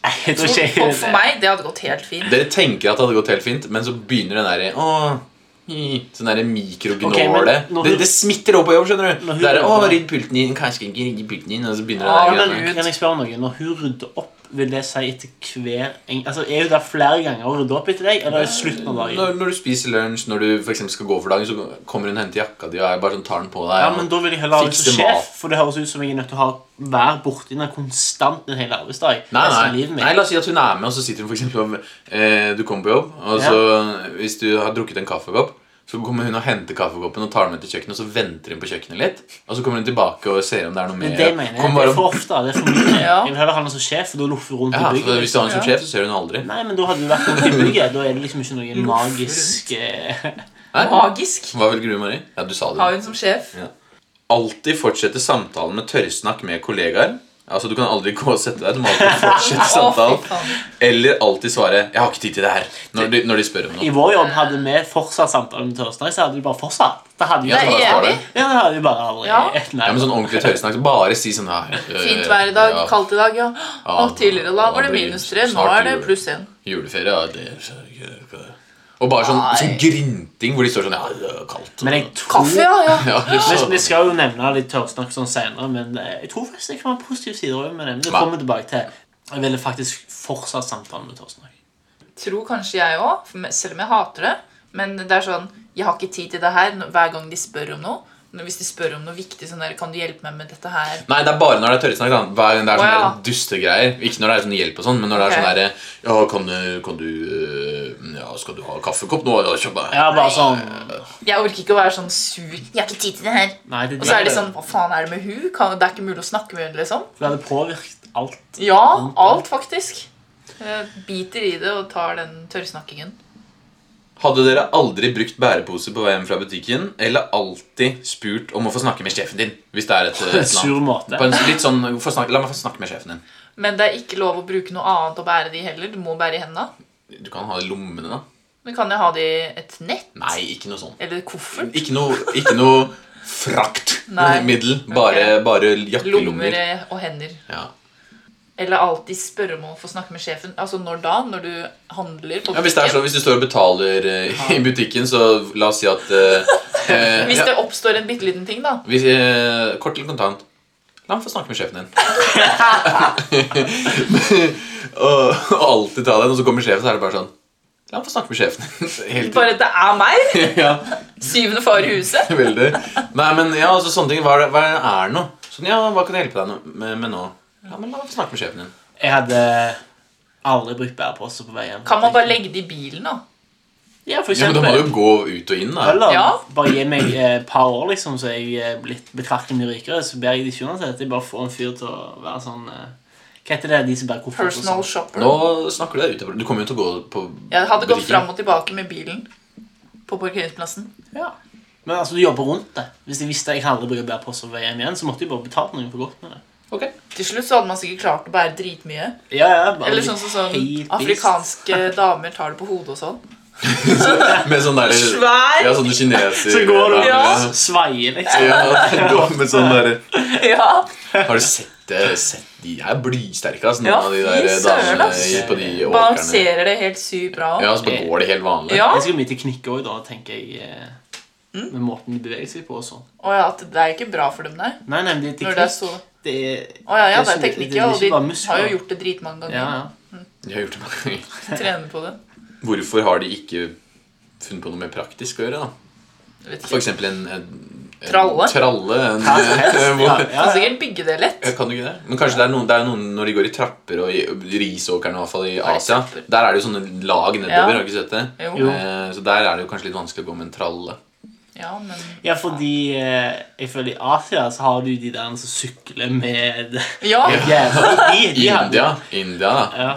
Nei, jeg tror ikke jeg For, gjør for det. meg, det hadde gått helt fint. Dere tenker at det hadde gått helt fint, men så begynner den derre «Åh, hi», Sånn derre mikrognåle. Ok, men når det, hun- det smitter over på jobb, skjønner du. Når hun- Det er, å, rydd pulten din, kanskje ikke rydde pulten din, og så begynner Ja, det der men- greiene. Kan jeg spørre om noe? Når hun rydder opp vil det si etter hver en, Altså, Er du der flere ganger og rydder opp etter deg, eller er det slutten av dagen? Når, når du spiser lunsj, når du for eksempel skal gå for dagen, så kommer hun og henter jakka di og jeg bare sånn tar den på deg. Ja, men Da vil jeg heller ha det som Fikse mat. sjef, for det høres ut som jeg er nødt til å ha være borti den konstant en hel arbeidsdag. Nei, resten av nei. livet mitt. nei, la oss si at hun er med, og så sitter hun for eksempel og, eh, Du kommer på jobb, og Ja. så hvis du har drukket en kaffekopp, så kommer hun og henter kaffekoppen og tar den med til kjøkkenet, og så venter hun på kjøkkenet litt, og så kommer hun tilbake og ser om det er noe Men mer. det mener jeg. Kommer Det bare- er for ofte. det er for mye. Ja. Jeg vil heller ha den som sjef, for da loffer du rundt ja, i for bygget. Hvis du har henne som Ja. sjef, så ser hun henne aldri. liksom, Nei, men da hadde du vært rundt i bygget. Da er det liksom ikke noe magisk eh, Nei? Magisk. Hva velger du, Mari? Ja, du sa det. Ha hun som sjef. alltid fortsette samtalen med tørrsnakk med kollegaer. Altså, Du kan aldri gå og sette deg. Du må alltid fortsette Å, fy samtalen. faen. Eller alltid svare 'Jeg har ikke tid til det her' når de, når de spør om I noe. vår jobb hadde vi fortsatt samtale med Tørstad, så hadde vi bare fortsatt. Det hadde vi Ja, Det så bare, bare er svarer vi. du. ja, det hadde vi bare aldri. Ja. Nei. Ja, men sånn ordentlig tørrsnakk. så Bare si sånn ja, øh, Fint vær i dag, ja, kaldt i dag, ja. Og tidligere da var det det blir minus tre, nå snart er det jul. pluss én. Juleferie, ja det er så gøy, hva er det? Og bare sånn, sånn grynting hvor de står sånn Ja, det er kaldt. Men jeg tror Kaffe, ja, ja. ja, vi, liksom. vi skal jo nevne litt tørrsnakk sånn senere, men eh, jeg tror faktisk det kan være positive sider også med det. Men det kommer vi tilbake til. Jeg ville faktisk fortsatt samtalen med Tørstad. Tror kanskje jeg òg, selv om jeg hater det. Men det er sånn, jeg har ikke tid til det her når- hver gang de spør om noe. Men Hvis de spør om noe viktig, sånn der, kan du hjelpe meg med dette her? Nei, det er bare når det er tørrsnakk. da. Hver gang det er Å, sånne ja. der dustegreier. Ikke når det er sånn hjelp og sånn, men når det er Ok. sånn derre Ja, kan du, kan du øh, Ja, skal du ha kaffekopp nå? Ja, kjøp meg. Ja, bare sånn Jeg orker ikke å være sånn sur. Jeg har ikke tid til det her. Nei, det, Og så er de sånn Hva faen er det med hun? Kan, det er ikke mulig å snakke med henne, liksom. det hadde påvirket alt. Ja, alt, faktisk. Jeg biter i det og tar den tørrsnakkingen. Hadde dere aldri brukt bærepose på vei hjem fra butikken, eller alltid spurt om å få snakke med sjefen din? Hvis det er et, et eller (laughs) Sur annet. måte. På en litt sånn få snakke, La meg få snakke med sjefen din. Men det er ikke lov å bruke noe annet å bære de heller. Du må bære i henda. Du kan ha det i lommene, da. Men kan jeg ha det i et nett? Nei, ikke noe sånt. Eller koffert? Ikke noe, ikke noe (laughs) Nei. fraktmiddel. Bare, bare Lommer jakkelommer. eh, og hender. Ja. Eller alltid spørre om å få snakke med sjefen. Altså når da? Når du handler på Ja, hvis, det er så, hvis du står og betaler eh, i butikken, så la oss si at (laughs) eh, eh, Hvis ja, det oppstår en bitte liten ting, da. hvis, eh, Kort eller kontant. La meg få snakke med sjefen (laughs) din. og, (laughs) og alltid ta den, og så kommer sjefen, så er det bare sånn La meg få snakke med sjefen din. (laughs) Helt Bare det er meg! (laughs) ja, Syvende far i huset. veldig. Nei, men ja, altså sånne ting. Hva er det, hva er det nå? Sånn, ja, hva kan jeg hjelpe deg nå- med, med nå? Ja, men La meg få snakke med sjefen din. Jeg hadde aldri brukt bærepose på vei hjem. Kan man bare legge det i bilen, da? Ja, Ja, men for eksempel. da må du jo gå ut og inn, da. Eller Ja. bare gi meg eh, et par år, liksom, så er jeg eh, blitt betraktelig mye rikere. Så ber jeg de ikke uansett. Jeg bare får en fyr til å være sånn eh, Hva heter det, de som bærer koffert? og Personal sånn? shopper. Nå snakker du deg ut av Du kommer jo til å gå på Jeg hadde gått butikken. fram og tilbake med bilen på parkeringsplassen. Ja. Men altså, du jobber rundt det. Hvis jeg visste jeg aldri bruker bærepose på vei hjem igjen, så måtte jeg bare betalt noen for godt med det. Ok. Til slutt så hadde man sikkert klart å bære dritmye. Ja, ja, bare Eller sånn som sånn, helt beast. (laughs) afrikanske damer tar det på hodet og sånn. (laughs) Med sånn der Svær! Ja, sånne kineser Så går du Ja. og sveier, liksom. Ja, går med sånn der (laughs) (laughs) Ja. Har du sett det? Sett, de er blysterke, altså, noen Ja, av de fy der søren, damene ass. i- på de åkrene. Balanserer det helt sykt bra òg. Ja, så bare går de helt vanlig. Ja. Jeg skal mye teknikk òg, da, tenker jeg. eh, Mm. Med måten de beveger seg på og sånn. Og ja, at det er ikke bra for dem der. Nei, nei, men det er Når det er teknikk. så Det er, Å ja, ja, det er så- teknikk, det ja. er Og ikke de bare muskler. har jo gjort det dritmange ganger. Ja, (laughs) ja. Jeg har gjort det mange ganger. Trener på det. Hvorfor har de ikke funnet på noe mer praktisk å gjøre, da? Jeg vet For ikke. eksempel en, en, en Tralle. tralle en, (laughs) Ja, (laughs) hvor, Kan ja, ja. sikkert bygge det lett. Ja, kan du ikke det? Men kanskje det er noen, det er noen når de går i trapper og i risåkerne, i hvert fall i Asia trapper. Der er det jo sånne lag nedover, Ja. har du ikke sett det? Jo. Jo. Eh, Så der er det jo kanskje litt vanskelig å gå med en tralle. Ja, men Ja, fordi eh, jeg føler i Asia så har du de der som sykler med Ja, Jævlig, de, de hadde- India, India da. Ja,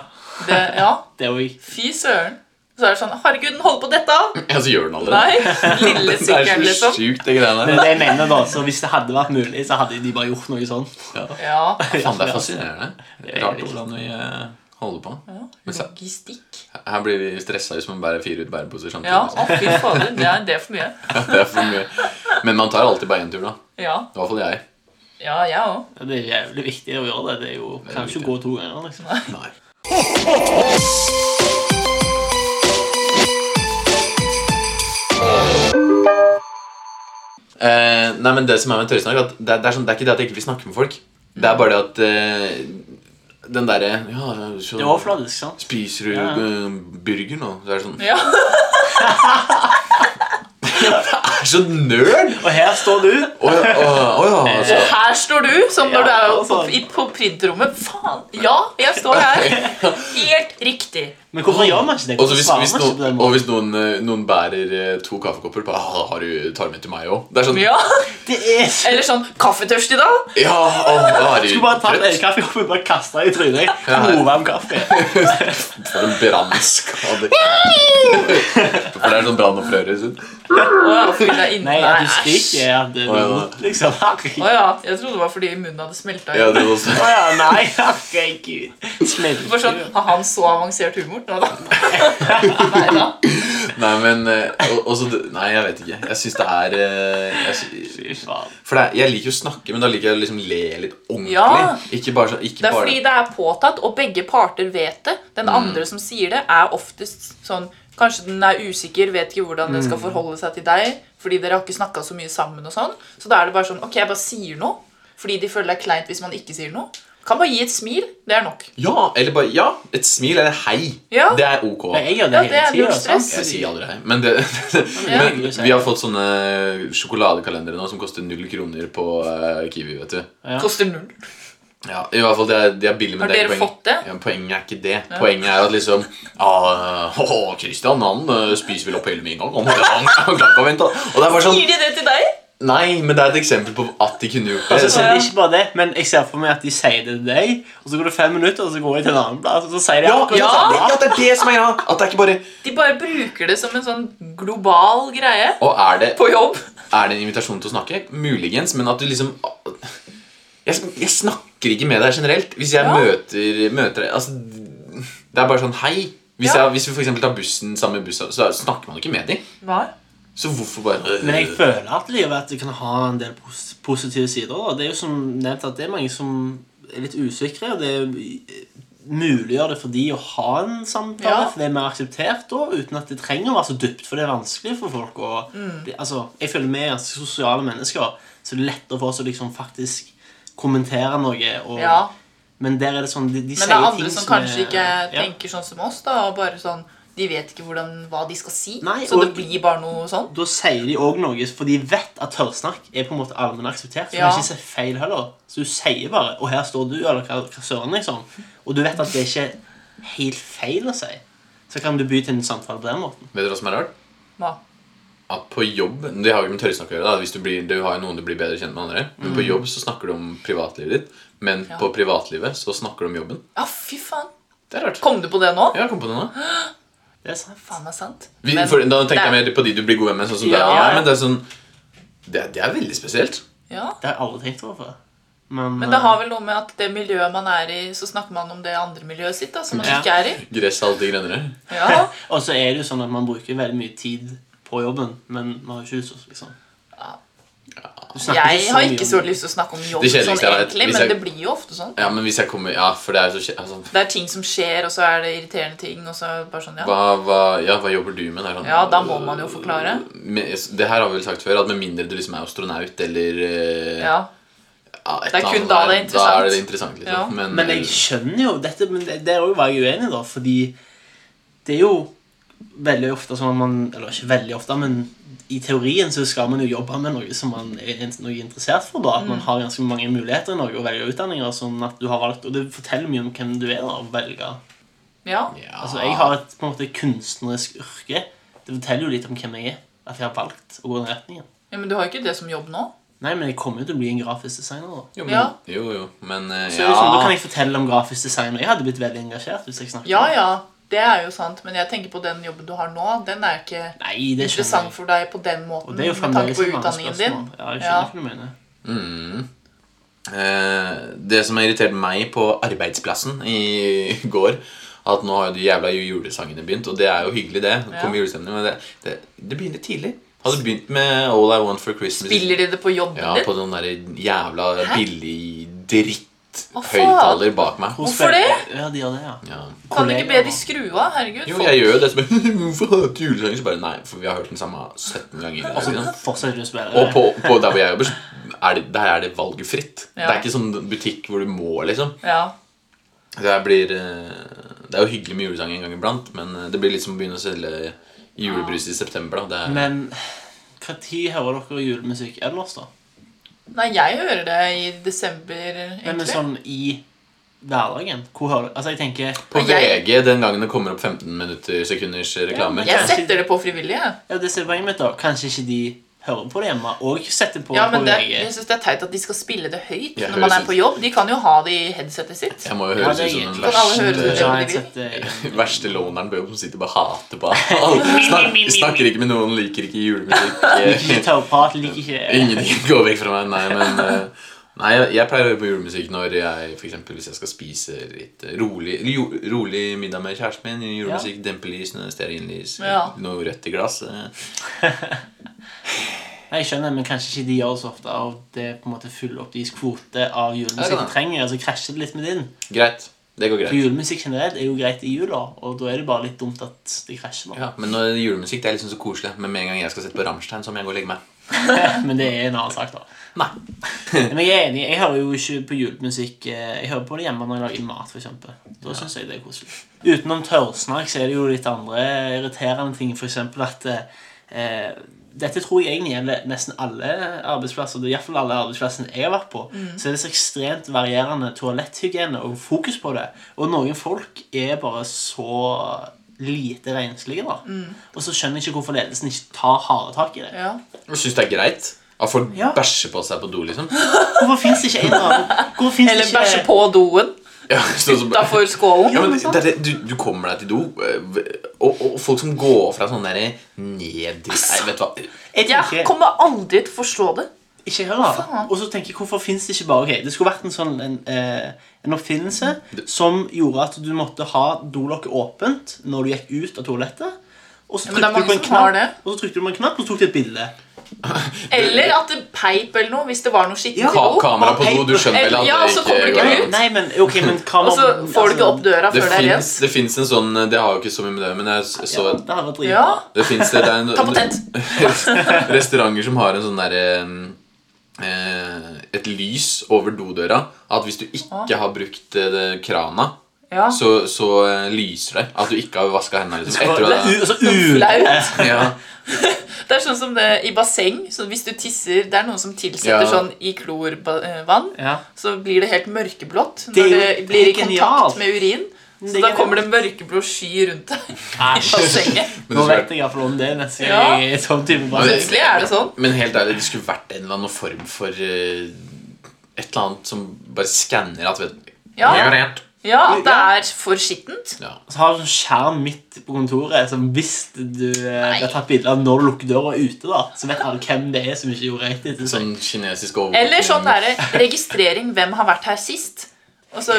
det, ja. det òg. fy søren. Så er det sånn Herregud, den holder på dette! (laughs) Ja, så gjør den aldri det. (laughs) Nei! Lille sykkelen, Det er så liksom. sjukt, det greiene Men der. det jeg mener da, så hvis det hadde vært mulig, så hadde de bare gjort noe sånn. Ja. Faen, det er fascinerende. er Rart veldig hvordan vi eh, holder på. Men så- Logistikk. Her blir vi stressa hvis man bærer fire ut bæreposer samtidig. Ja, liksom. å fy fader. Det er det er for mye. (laughs) Det er for mye. Men man tar alltid bare én tur, da. Ja, I hvert fall jeg. ja jeg òg. Ja, Det er jævlig viktig å gjøre det. Det er jo er Kan ikke viktig. gå to ganger, liksom. Nei. Eh, nei, men Det som er med tørrsnakk, er at det, det, er sånn, det er ikke det at jeg ikke vil snakke med folk. Det er bare det at eh, Den derre ja, så- Det er overfladisk, sant? Spiser du Ja. eh, burger nå? Så er det sånn Ja. Jeg er så nerd! Og her står du. Å ja, å- å Eh, ja, altså. Og her står du, som når du Ja, er på, altså. i- på printrommet. Faen! Ja, jeg står (laughs) her. Helt riktig. Men hvorfor gjør man ikke det? Og så Hvorfor hvis, svarer hvis man ikke på altså, den noen, og måten? hvis noen, eh, noen bærer eh, to kaffekopper bare, ah, har du, Tar du med til meg òg? Det er sånn Ja. Det er så Eller sånn Kaffetørst i dag? Ja, å, er du Skulle bare tatt en trøtt? kaffe og bare kastet den i trynet. Ja. Glovarm kaffe. For en brannskader. For det er sånn brannopprører. sånn. Å, fyll deg inn. Nei, at du æsj. skriker er at det er Å, ja. vondt, liksom. Herregud. Å ja. Jeg trodde det var fordi munnen hadde smelta. Ja, det er også. Å ja, nei, herregud. Smelter. Sånn, har han så avansert humor? Nei da. Nei da. Nei, men eh, og- også, det- Nei, jeg vet ikke. Jeg syns det er eh, jeg, sy- Fy faen. For det er, jeg liker jo å snakke, men da liker jeg å liksom le litt ordentlig. Ja. Ikke bare sånn ikke Det er bare, fordi det er påtatt, og begge parter vet det. Den Mm. andre som sier det, er oftest sånn Kanskje den er usikker, vet ikke hvordan den skal Mm. forholde seg til deg. Fordi dere har ikke snakka så mye sammen. og sånn Så da er det bare sånn Ok, jeg bare sier noe. Fordi de føler det er kleint hvis man ikke sier noe. Kan bare gi et smil. Det er nok. Ja, eller bare Ja, et smil eller hei. Ja. Det er ok. Men jeg gjør Ja, det det hele altså. er tida. null stress. Jeg sier aldri hei, men, det, men vi har fått sånne sjokoladekalendere nå som koster null kroner på eh, Kiwi. vet du Koster null. Ja, i hvert fall det er, det er billig, men Har det er dere ikke fått det? Ja, poenget er ikke det. Poenget er at liksom ah, (laughs) Å, Christian, han eh, spiser vel opp hele min gang. Han, han, han klarer ikke å vente. Og det er bare sånn Gir de det til deg? Nei, men det er et eksempel på at de kunne gjort Altså, det. så det er ikke bare det, men jeg ser for meg at de sier det til deg, og så går det fem minutter, og så går jeg til en annen plass, og så sier de Ja, akkurat ja, ja, det samme. det er det som er greia. At det er ikke bare De bare bruker det som en sånn global greie Og er det, på jobb. er det en invitasjon til å snakke? Muligens, men at du liksom Jeg, jeg snakker ikke med deg generelt. Hvis jeg Ja. møter, møter deg altså, Det er bare sånn Hei. Hvis, Ja. jeg, hvis vi for eksempel tar bussen sammen med bussen, så snakker man ikke med dem. Hva? Så hvorfor bare Men jeg føler at livet at det kan ha en del pos- positive sider. Da. Det er jo som nevnt at det er mange som er litt usikre, og det er- muliggjør det for de å ha en samtale, Ja. for det er mer akseptert da, uten at det trenger å være så dypt, for det er vanskelig for folk å Mm. det, altså, Jeg føler vi er ganske sosiale mennesker, så det er lettere for oss å liksom faktisk kommentere noe. Og, Ja. Men der er det sånn, de, de Men det er sier andre ting som som kanskje er- ikke ja. tenker sånn som oss. da og bare sånn, De vet ikke hvordan, hva de skal si. Nei, så det og- blir bare noe sånn. da sier de òg noe, for de vet at tørrsnakk er på en måte allmenn akseptert. Så Ja. det er ikke så feil heller. Så du sier bare 'Og her står du', eller hva, hva søren, liksom. Og du vet at det er ikke helt feil å si. Så kan du by til en samtale på den måten. Vet dere hva som er rart? Hva? At på jobb Det har jo ikke med tørresnakk å gjøre. da Hvis Du, blir, du har jo noen du blir bedre kjent med andre. Men Mm. på jobb så snakker du om privatlivet ditt. Men på privatlivet så snakker du om jobben. Ja, fy faen. Det er rart. Kom du på det nå? Ja, kom på det nå. Det er sånn, sant. Faen meg sant. Vi, Men for, da tenker det er- jeg mer på de du blir god venn med. Sånn som deg og Ja. meg, men det er sånn det, det er veldig spesielt. Ja. Det har jeg aldri tenkt over før. Men, Men det har vel noe med at det miljøet man er i, så snakker man om det andre miljøet sitt. da, som man Ja. ikke er i. Gress er alltid grønnere. Ja. eh, Og så er det jo sånn at man bruker veldig mye tid på jobben, men man har jo ikke lyst til å liksom. Du snakker Jeg har mye ikke om så det. lyst til å snakke om jobb, Det sånn, kjedeligste jeg vet, egentlig, hvis men jeg- det blir jo ofte sånn. Ja, men hvis jeg kommer Ja, for det er jo så kje- altså, Det er ting som skjer, og så er det irriterende ting. og så bare sånn, ja. hva, hva, ja, hva jobber du med? Det er sånn, Ja, da må man jo forklare. Med, det her har vi vel sagt før, at med mindre du liksom er astronaut eller eh, ja. ja, et Det er eller kun annet da der, det er Da er det interessant. interessant liksom. Ja. Men, Men jeg skjønner jo dette, men det, det er jo var jeg uenig i, da, fordi det er jo veldig ofte sånn at man Eller ikke veldig ofte, men i teorien så skal man jo jobbe med noe som man er in- noe interessert for. da, At man har ganske mange muligheter i Norge og velger utdanninger. sånn at du har valgt, Og det forteller mye om hvem du er da, å velge. ja. ja. Altså, Jeg har et på en måte kunstnerisk yrke. Det forteller jo litt om hvem jeg er. At jeg har valgt å gå den retningen. Ja, Men du har jo ikke det som jobb nå. Nei, men jeg kommer jo til å bli en grafisk designer. da. Jo, Ja. men, jo, jo, men eh, Så det er jo sånn, Da ja. kan jeg fortelle om grafisk design. og Jeg hadde blitt veldig engasjert hvis jeg snakket Ja, om det. ja, det er jo sant, men jeg tenker på den jobben du har nå. Den er ikke Nei, det skjønner jeg. interessant for deg på den måten. Og det er jo med tanke fremdeles på et vanskelig utdanningen din. spørsmål. Ja, jeg skjønner Ja. hva du mener. Eh, Det som har irritert meg på arbeidsplassen i (laughs) går At nå har jo de jævla julesangene begynt, og det er jo hyggelig, det. Det kommer julestemning, men det, det, det begynner tidlig. Hadde begynt med All I Want for Christmas. Spiller de det på jobben Ja, din? på den der jævla billig Hva faen? dritthøyttaler bak meg. Hvorfor det? Ja, de gjør det, ja. Ja. Kan du Kollegaer. ikke be de skru av? Herregud. Jo, folk- jeg gjør jo det som (laughs) Hvorfor hater julesanger? Så bare Nei, for vi har hørt den samme 17 ganger. Altså, fortsetter du å spille Og det? på, på der hvor jeg jobber, så er det, der er det valgfritt. Ja. Det er ikke sånn butikk hvor du må, liksom. Ja. Det, her blir, eh, det er jo hyggelig med julesang en gang iblant, men eh, det blir liksom å begynne å selge julebrus i september. da. Det er, Men når hører dere julemusikk ellers, da? Nei, jeg hører det i desember, Nei, Men egentlig. sånn i hverdagen? Hvor hører du Altså, jeg tenker på Og jeg- VG, den gangen det kommer opp 15 minutter sekunders eh, reklamer Jeg setter det på frivillig, jeg. Ja, det er poenget mitt, da. Kanskje ikke de hører på det hjemme og setter på Ja, på men det, VG. jeg synes det er teit at de skal spille det høyt Jeg når man høres er på ut- jobb. De kan jo ha det i headsetet sitt. Jeg må jo Ja, høres det er ut som den greit. Kan alle høres ut verste, som Ja, jeg det? setter- verste loneren på jobb som sitter og bare hater på (laughs) alt. Snak, snakker ikke med noen, liker ikke Ikke julemusikk. eh, taupat, liker ikke (laughs) Ingenting går vekk fra meg. Nei, men eh, Nei, jeg, jeg pleier å høre på julemusikk når jeg for eksempel, hvis jeg skal spise litt rolig, jo, rolig middag med kjæresten min. Julemusikk, dempelys, stearinlys, Ja. noe rødt i glass. eh. Nei, Jeg skjønner, men kanskje ikke de gjør det så ofte. Og det på en måte fyller opp deres kvote av Ja, julemusikk da. de trenger. Altså krasjer det litt med din. Greit. Det går For greit. julemusikk generelt er jo greit i jula, og da er det bare litt dumt at det krasjer. nå. Ja, men når julemusikk det er liksom så koselig. Men med en gang jeg skal sette på Rammstein, så må jeg gå og legge meg. (laughs) Men det er en annen sak, da. Nei. Men jeg er enig. Jeg hører jo ikke på julemusikk. eh, Jeg hører på det hjemme når jeg lager mat, f.eks. Da syns jeg det er koselig. Utenom tørrsnakk så er det jo litt andre irriterende ting, f.eks. at eh, dette tror jeg egentlig gjelder nesten alle arbeidsplasser. det er i hvert fall alle arbeidsplassene jeg har vært på. Mm. Så er det så ekstremt varierende toaletthygiene og fokus på det. Og noen folk er bare så lite renslige, da. Og så skjønner jeg ikke hvorfor ledelsen ikke tar harde tak i det. Mm. Ja. Syns det er greit at folk Ja. bæsjer på seg på do, liksom? Hvorfor fins det ikke en eller annen Hvorfor finnes det Eller ikke bæsje på doen Ja, så, så, utafor skålen. ja, men liksom. det, er det, du, du kommer deg til do, eh, og, og folk som går fra sånn derre neddritt Nei, vet du hva. Jeg tenker, Jeg kommer aldri til å forstå det. Ikke jeg heller. Faen. Og så tenker jeg, hvorfor finnes det ikke bare ok, Det skulle vært en sånn en, eh, en oppfinnelse som gjorde at du måtte ha dolokket åpent når du gikk ut av toalettet. Og så men det er trykte du på mange en som har knapp, det. og så trykte du på en knapp, og så tok du et bilde. Eller at det peip eller noe, hvis det var noe skittent Ja. i Ka do. kamera på do, du skjønner vel at Ja, så det kommer du ikke ikke går ut. an. Nei, men ok, men altså, Og kamera så får du ikke opp døra Det før det er fins rent. det finnes en sånn Det har jo ikke så mye med det men jeg s- så Ja, det hadde vært dritbra. Ja. Det fins det, det er en, Ta på tent. (laughs) restauranter som har en sånn derre eh, Et lys over dodøra. At hvis du Ah. ikke har brukt eh, det, krana, Ja. så, så eh, lyser det. At du ikke har vaska hendene. Liksom, Og etter Det at er u- altså, (laughs) Flaut. ja, Det er sånn som det i basseng. Så hvis du tisser Det er noen som tilsetter Ja. sånn i klorvann. Ja. Så blir det helt mørkeblått Det er når jo det blir i genialt. kontakt med urin. Det Så er da genialt. kommer det mørkeblå sky rundt deg i Æsj. (laughs) (laughs) bassenget. men, Nå det vet skulle vært, jeg iallfall om det neste Ja. gang jeg er i sånn type bransje. det- Plutselig er det sånn. men helt ærlig, det skulle vært en eller annen form for eh, et eller annet som bare skanner at vet, Ja. Jeg har rent. Ja, at det er for skittent. Ja. Så har du en skjerm midt på kontoret som hvis du eh, blir tatt bilde av når du lukker døra ute, da, så vet alle hvem det er som ikke gjorde rett etter seg. Sånn kinesisk overvåkning. Eller sånn derre registrering hvem har vært her sist. Og så,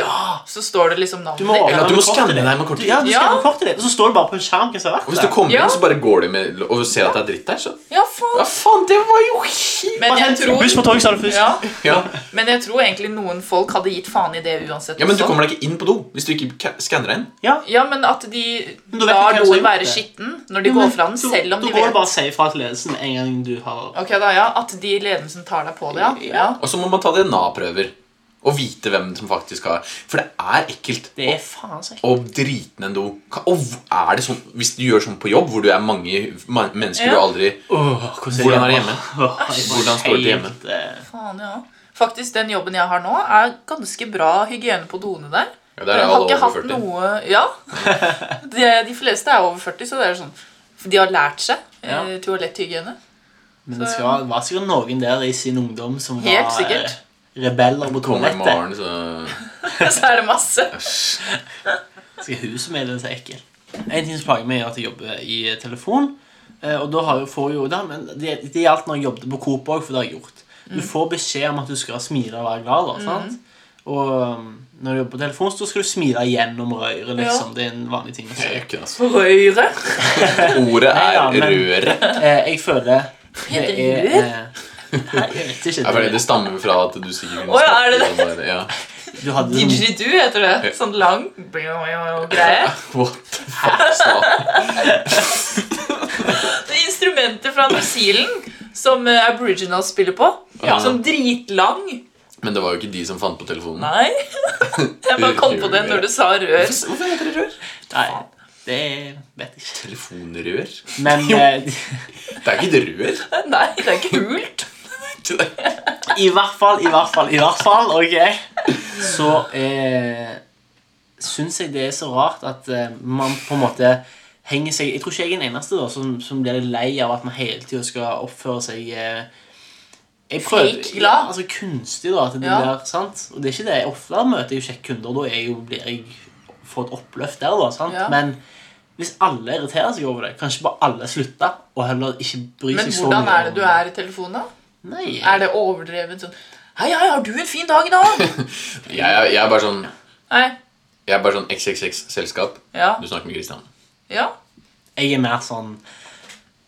så står det liksom navnet Du må ditt. Eller at du med må skanne kortet ditt. deg med kortet. Ja, du Ja. skanner kortet ditt, og så står det bare på en skjerm hvem som har Og hvis du vært der. kommer Ja. inn, så bare går de med og ser at det er dritt der, så Ja, Ja, faen. faen, det var jo helt Men Bare jeg hent buss tror på tog, sa du først. ja, ja. Men jeg tror egentlig noen folk hadde gitt faen i det uansett. ja, men du også. kommer deg ikke inn på do hvis du ikke ka- skanner deg inn. ja, men at de Men da vet lar du hvem som har doen gjort være det. skitten når de går fra den, selv om da de går det vet bare å si ifra til ledelsen en gang du har Ok da, ja, At de i ledelsen tar deg på det, ja. ja. Og så må man ta DNA-prøver og vite hvem som faktisk har For det er ekkelt Det er faen så ekkelt. å drite ned en do. Ka- Og hv- er det sånn, Hvis du gjør sånn på jobb, hvor du er mange ma- mennesker du Ja. aldri Åh, Hvordan er det hjemme? Åh, jeg får Hvordan står det helt, eh, Faen, ja. Faktisk, den jobben jeg har nå, er ganske bra hygiene på doene der. Ja, der er Jeg har alle ikke over 40. hatt noe (laughs) Ja. De, de fleste er over 40, så det er sånn De har lært seg Ja. eh, toaletthygiene. (laughs) Men det skal, det var sikkert noen der i sin ungdom som var Helt sikkert. eh, rebeller på Kommer i toalettet. morgen, så Så er det masse. Skal huset mitt er så ekkel. En ting som plager meg, er at jeg jobber i telefon. eh, Og da har jeg, får jeg jo da, men det, det gjaldt når jeg jobbet på Coop òg, for det har jeg gjort. Du får beskjed om at du skal smile og være glad. da, sant? Og um, når du jobber på telefon, så skal du smile gjennom røret. liksom. Det er en vanlig ting å si. Øken, altså. Røyre. Ordet Ja, er men- røret. Eh, Jeg føler det Heter det er rør? eh, (laughs) Nei, jeg vet Ja, ikke. fordi det stammer fra at du sikkert Å, ja, er det det? snakker om Ja. (laughs) Du hadde sånn Didgeridoo heter det. Sånn lang greie. What the fuck, sa Det er instrumenter fra New Zealand som eh, Aboriginals spiller på. Ja. Som dritlang. Men det var jo ikke de som fant på telefonen. (laughs) Nei. Jeg bare kom på det når du sa rør. Hvorfor hvorfor heter det rør? Nei, det vet jeg ikke. Telefonrør? Men eh, (laughs) Det er ikke et rør. (laughs) Nei, det er ikke hult. i hvert fall, i hvert fall, i hvert fall, ok? Så eh, syns jeg det er så rart at eh, man på en måte henger seg Jeg tror ikke jeg er den eneste da, som, som blir lei av at man hele tida skal oppføre seg eh, jeg prøver, Fake glad. altså Kunstig, da. at det Ja. blir, sant? Og det er ikke det. Ofte møter jeg jo kjekke kunder, og da er jeg jo, blir jeg får et oppløft der. da, sant? Ja. Men hvis alle irriterer seg over det, kanskje bare alle slutter, og heller ikke sånn, bry eh, Men seg så mye hvordan er det om du er i telefonen, da? Nei, Er det overdrevet sånn Hei, hei, har du en fin dag i dag? (laughs) Jeg, er- jeg er bare sånn Nei. Jeg er bare sånn XXX-selskap. Ja. Du snakker med Christian. Ja. Jeg er mer sånn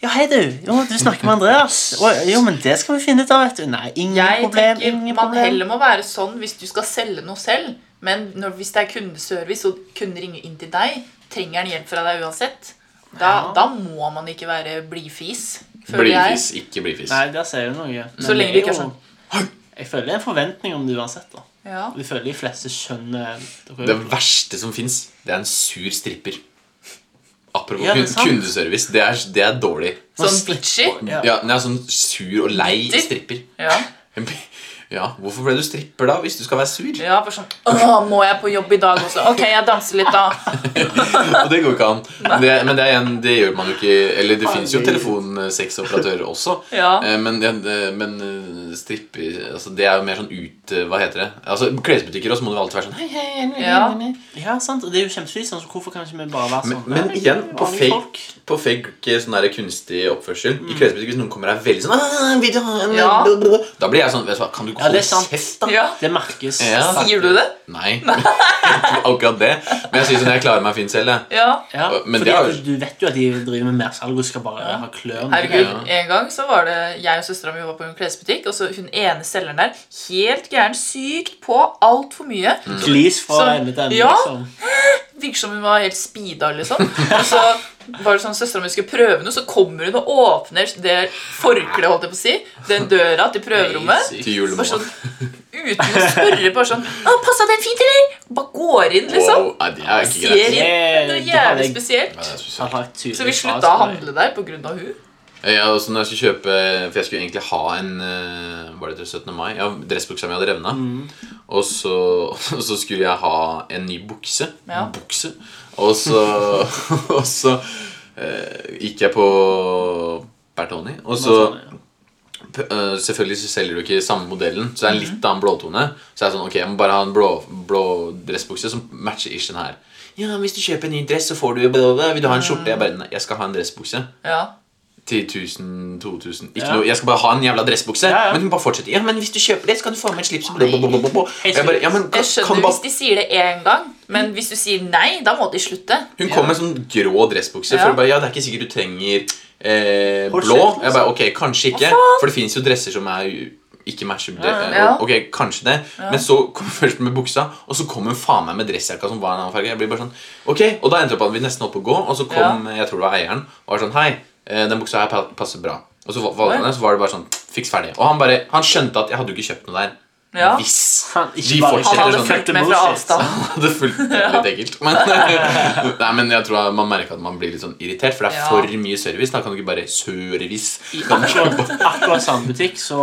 Ja, hei, du. Jo, du snakker med (laughs) Andreas. Å, jo, men det skal vi finne ut av, vet du. Nei, ingen Jeg problem. tenker ingen man problem. heller må være sånn hvis du skal selge noe selv. Men når, hvis det er kundeservice og kunden ringer inn til deg, trenger han hjelp fra deg uansett. Da, da må man ikke være blidfis. føler jeg. Blidfis, ikke blidfis. Nei, der sier du noe. Men Så lenge det ikke er sånn- jo- Jeg føler det er en forventning om det uansett. da. Ja. Jeg føler de fleste skjønner dere- Det verste som fins, det er en sur stripper. Apropos Ja, det er kun- sant. kundeservice. Det er, det er dårlig. Sånn bitchy. Ja. Ja. den er sånn sur og lei Bitter. stripper. Ja. Ja, Hvorfor ble du stripper da, hvis du skal være sur? ja, for sånn Åh, må jeg på jobb i dag også? Ok, jeg danser litt, da. (laughs) Og det går ikke an. Men det, men det, er igjen, det gjør man jo ikke Eller det fins jo Herregud. telefonsexoperatører også. Ja. Eh, Men, det- men eh, stripper altså Det er jo mer sånn ut eh, Hva heter det? Altså Klesbutikker også må det alltid være sånn hei, hei, hei, hei, Ja. hei, hei. Ja, sant, og det er jo kjempefint. Sånn, så hvorfor kan ikke vi bare være Men, sånn? men Nei, igjen, på vanlige folk. fake, på fake sånn der kunstig oppførsel I klesbutikk, hvis noen kommer og er veldig sånn «Ah, vil du ha en- Ja. Da blir jeg sånn vet du hva, Kan du Ja, det holde er sant. kjeft, da? Ja. Det merkes. Ja. faktisk. Sier du det? Nei. (laughs) Akkurat det. Men jeg synes sånn, jeg klarer meg fint selv. Jeg. Ja. Ja, Men fordi det er jo- at du vet jo at de driver med mersalg og skal bare ha klør. Herregud, Ja. En gang så var det jeg og søstera mi var på en klesbutikk, og så hun ene selgeren der helt gæren, sykt på altfor mye. Glis Så- fra ende til ende. Ja. liksom. liksom. Virker som hun var helt speeda, liksom. Og så var det sånn søstera mi skulle prøve noe, så kommer hun og åpner det forkleet, holdt jeg på å si, den døra til prøverommet. Til Bare julemorgen. sånn uten å spørre, bare sånn 'Å, passa den fint, eller?' Bare går inn, liksom. Wow, nei, det er ikke Ser greit. inn. Det er Det- det hadde jeg- jævlig Nei, det spesielt. er Han spesielt. har et tydelig Så vi slutta å fraspray. handle der pga. hun. Ja, og så når jeg skulle kjøpe For jeg skulle egentlig ha en eh, Var det til 17. mai? Ja, dressbuksa mi hadde revna. Og, så, (laughs) og så skulle jeg ha en ny bukse. Ja. Bukse. Og så, (laughs) og så eh, gikk jeg på Bertoni, og så p- eh, Selvfølgelig så selger du ikke samme modellen, så det er en litt annen blåtone. Så jeg er sånn, ok, jeg må bare ha en blå, blå dressbukse som matcher ish den her. Ja, men Hvis du kjøper en ny dress, så får du Vil du ha en skjorte? Jeg bare, nei, jeg skal ha en dressbukse. Ja. 10 000, 2000 Ikke Ja. noe, Jeg skal bare ha en jævla dressbukse. Ja, ja. Men hun bare fortsetter. Ja, men hvis du kjøper det, så kan du få med et slips. Og jeg bare, ja, men, kan, Jeg kan skjønner du bare... hvis de sier det én gang, men hvis du sier nei, da må de slutte. Hun kom med en sånn grå dressbukse. Ja. For jeg bare, ja, det er ikke sikkert du trenger eh, Korsett, blå. liksom. Jeg bare, ok, kanskje ikke. For det fins jo dresser som er u- ikke matcher. Ja, eh, ja. Ok, kanskje det. Men så kom hun først med buksa, og så kom hun faen meg med dressjakka som var en annen farge. Jeg blir bare sånn, ok, Og da endte det opp at vi nesten holdt på å gå, og så kom eh, jeg tror det var eieren og var sånn Hei, eh, den buksa her pa- passer bra. Og så valgte han den, så var det bare sånn Fiks ferdig. Og han bare, han skjønte at jeg hadde jo ikke kjøpt noe der. Ja. Hvis Han, De ikke bare, fortsetter Han hadde sånn. fulgt med fra avstand. hadde fulgt (laughs) det er litt ekkelt. Men, nei, men (laughs) jeg tror man merker at man blir litt sånn irritert, for det er Ja. for mye service. Da kan du ikke bare service. I akkurat, akkurat samme butikk, så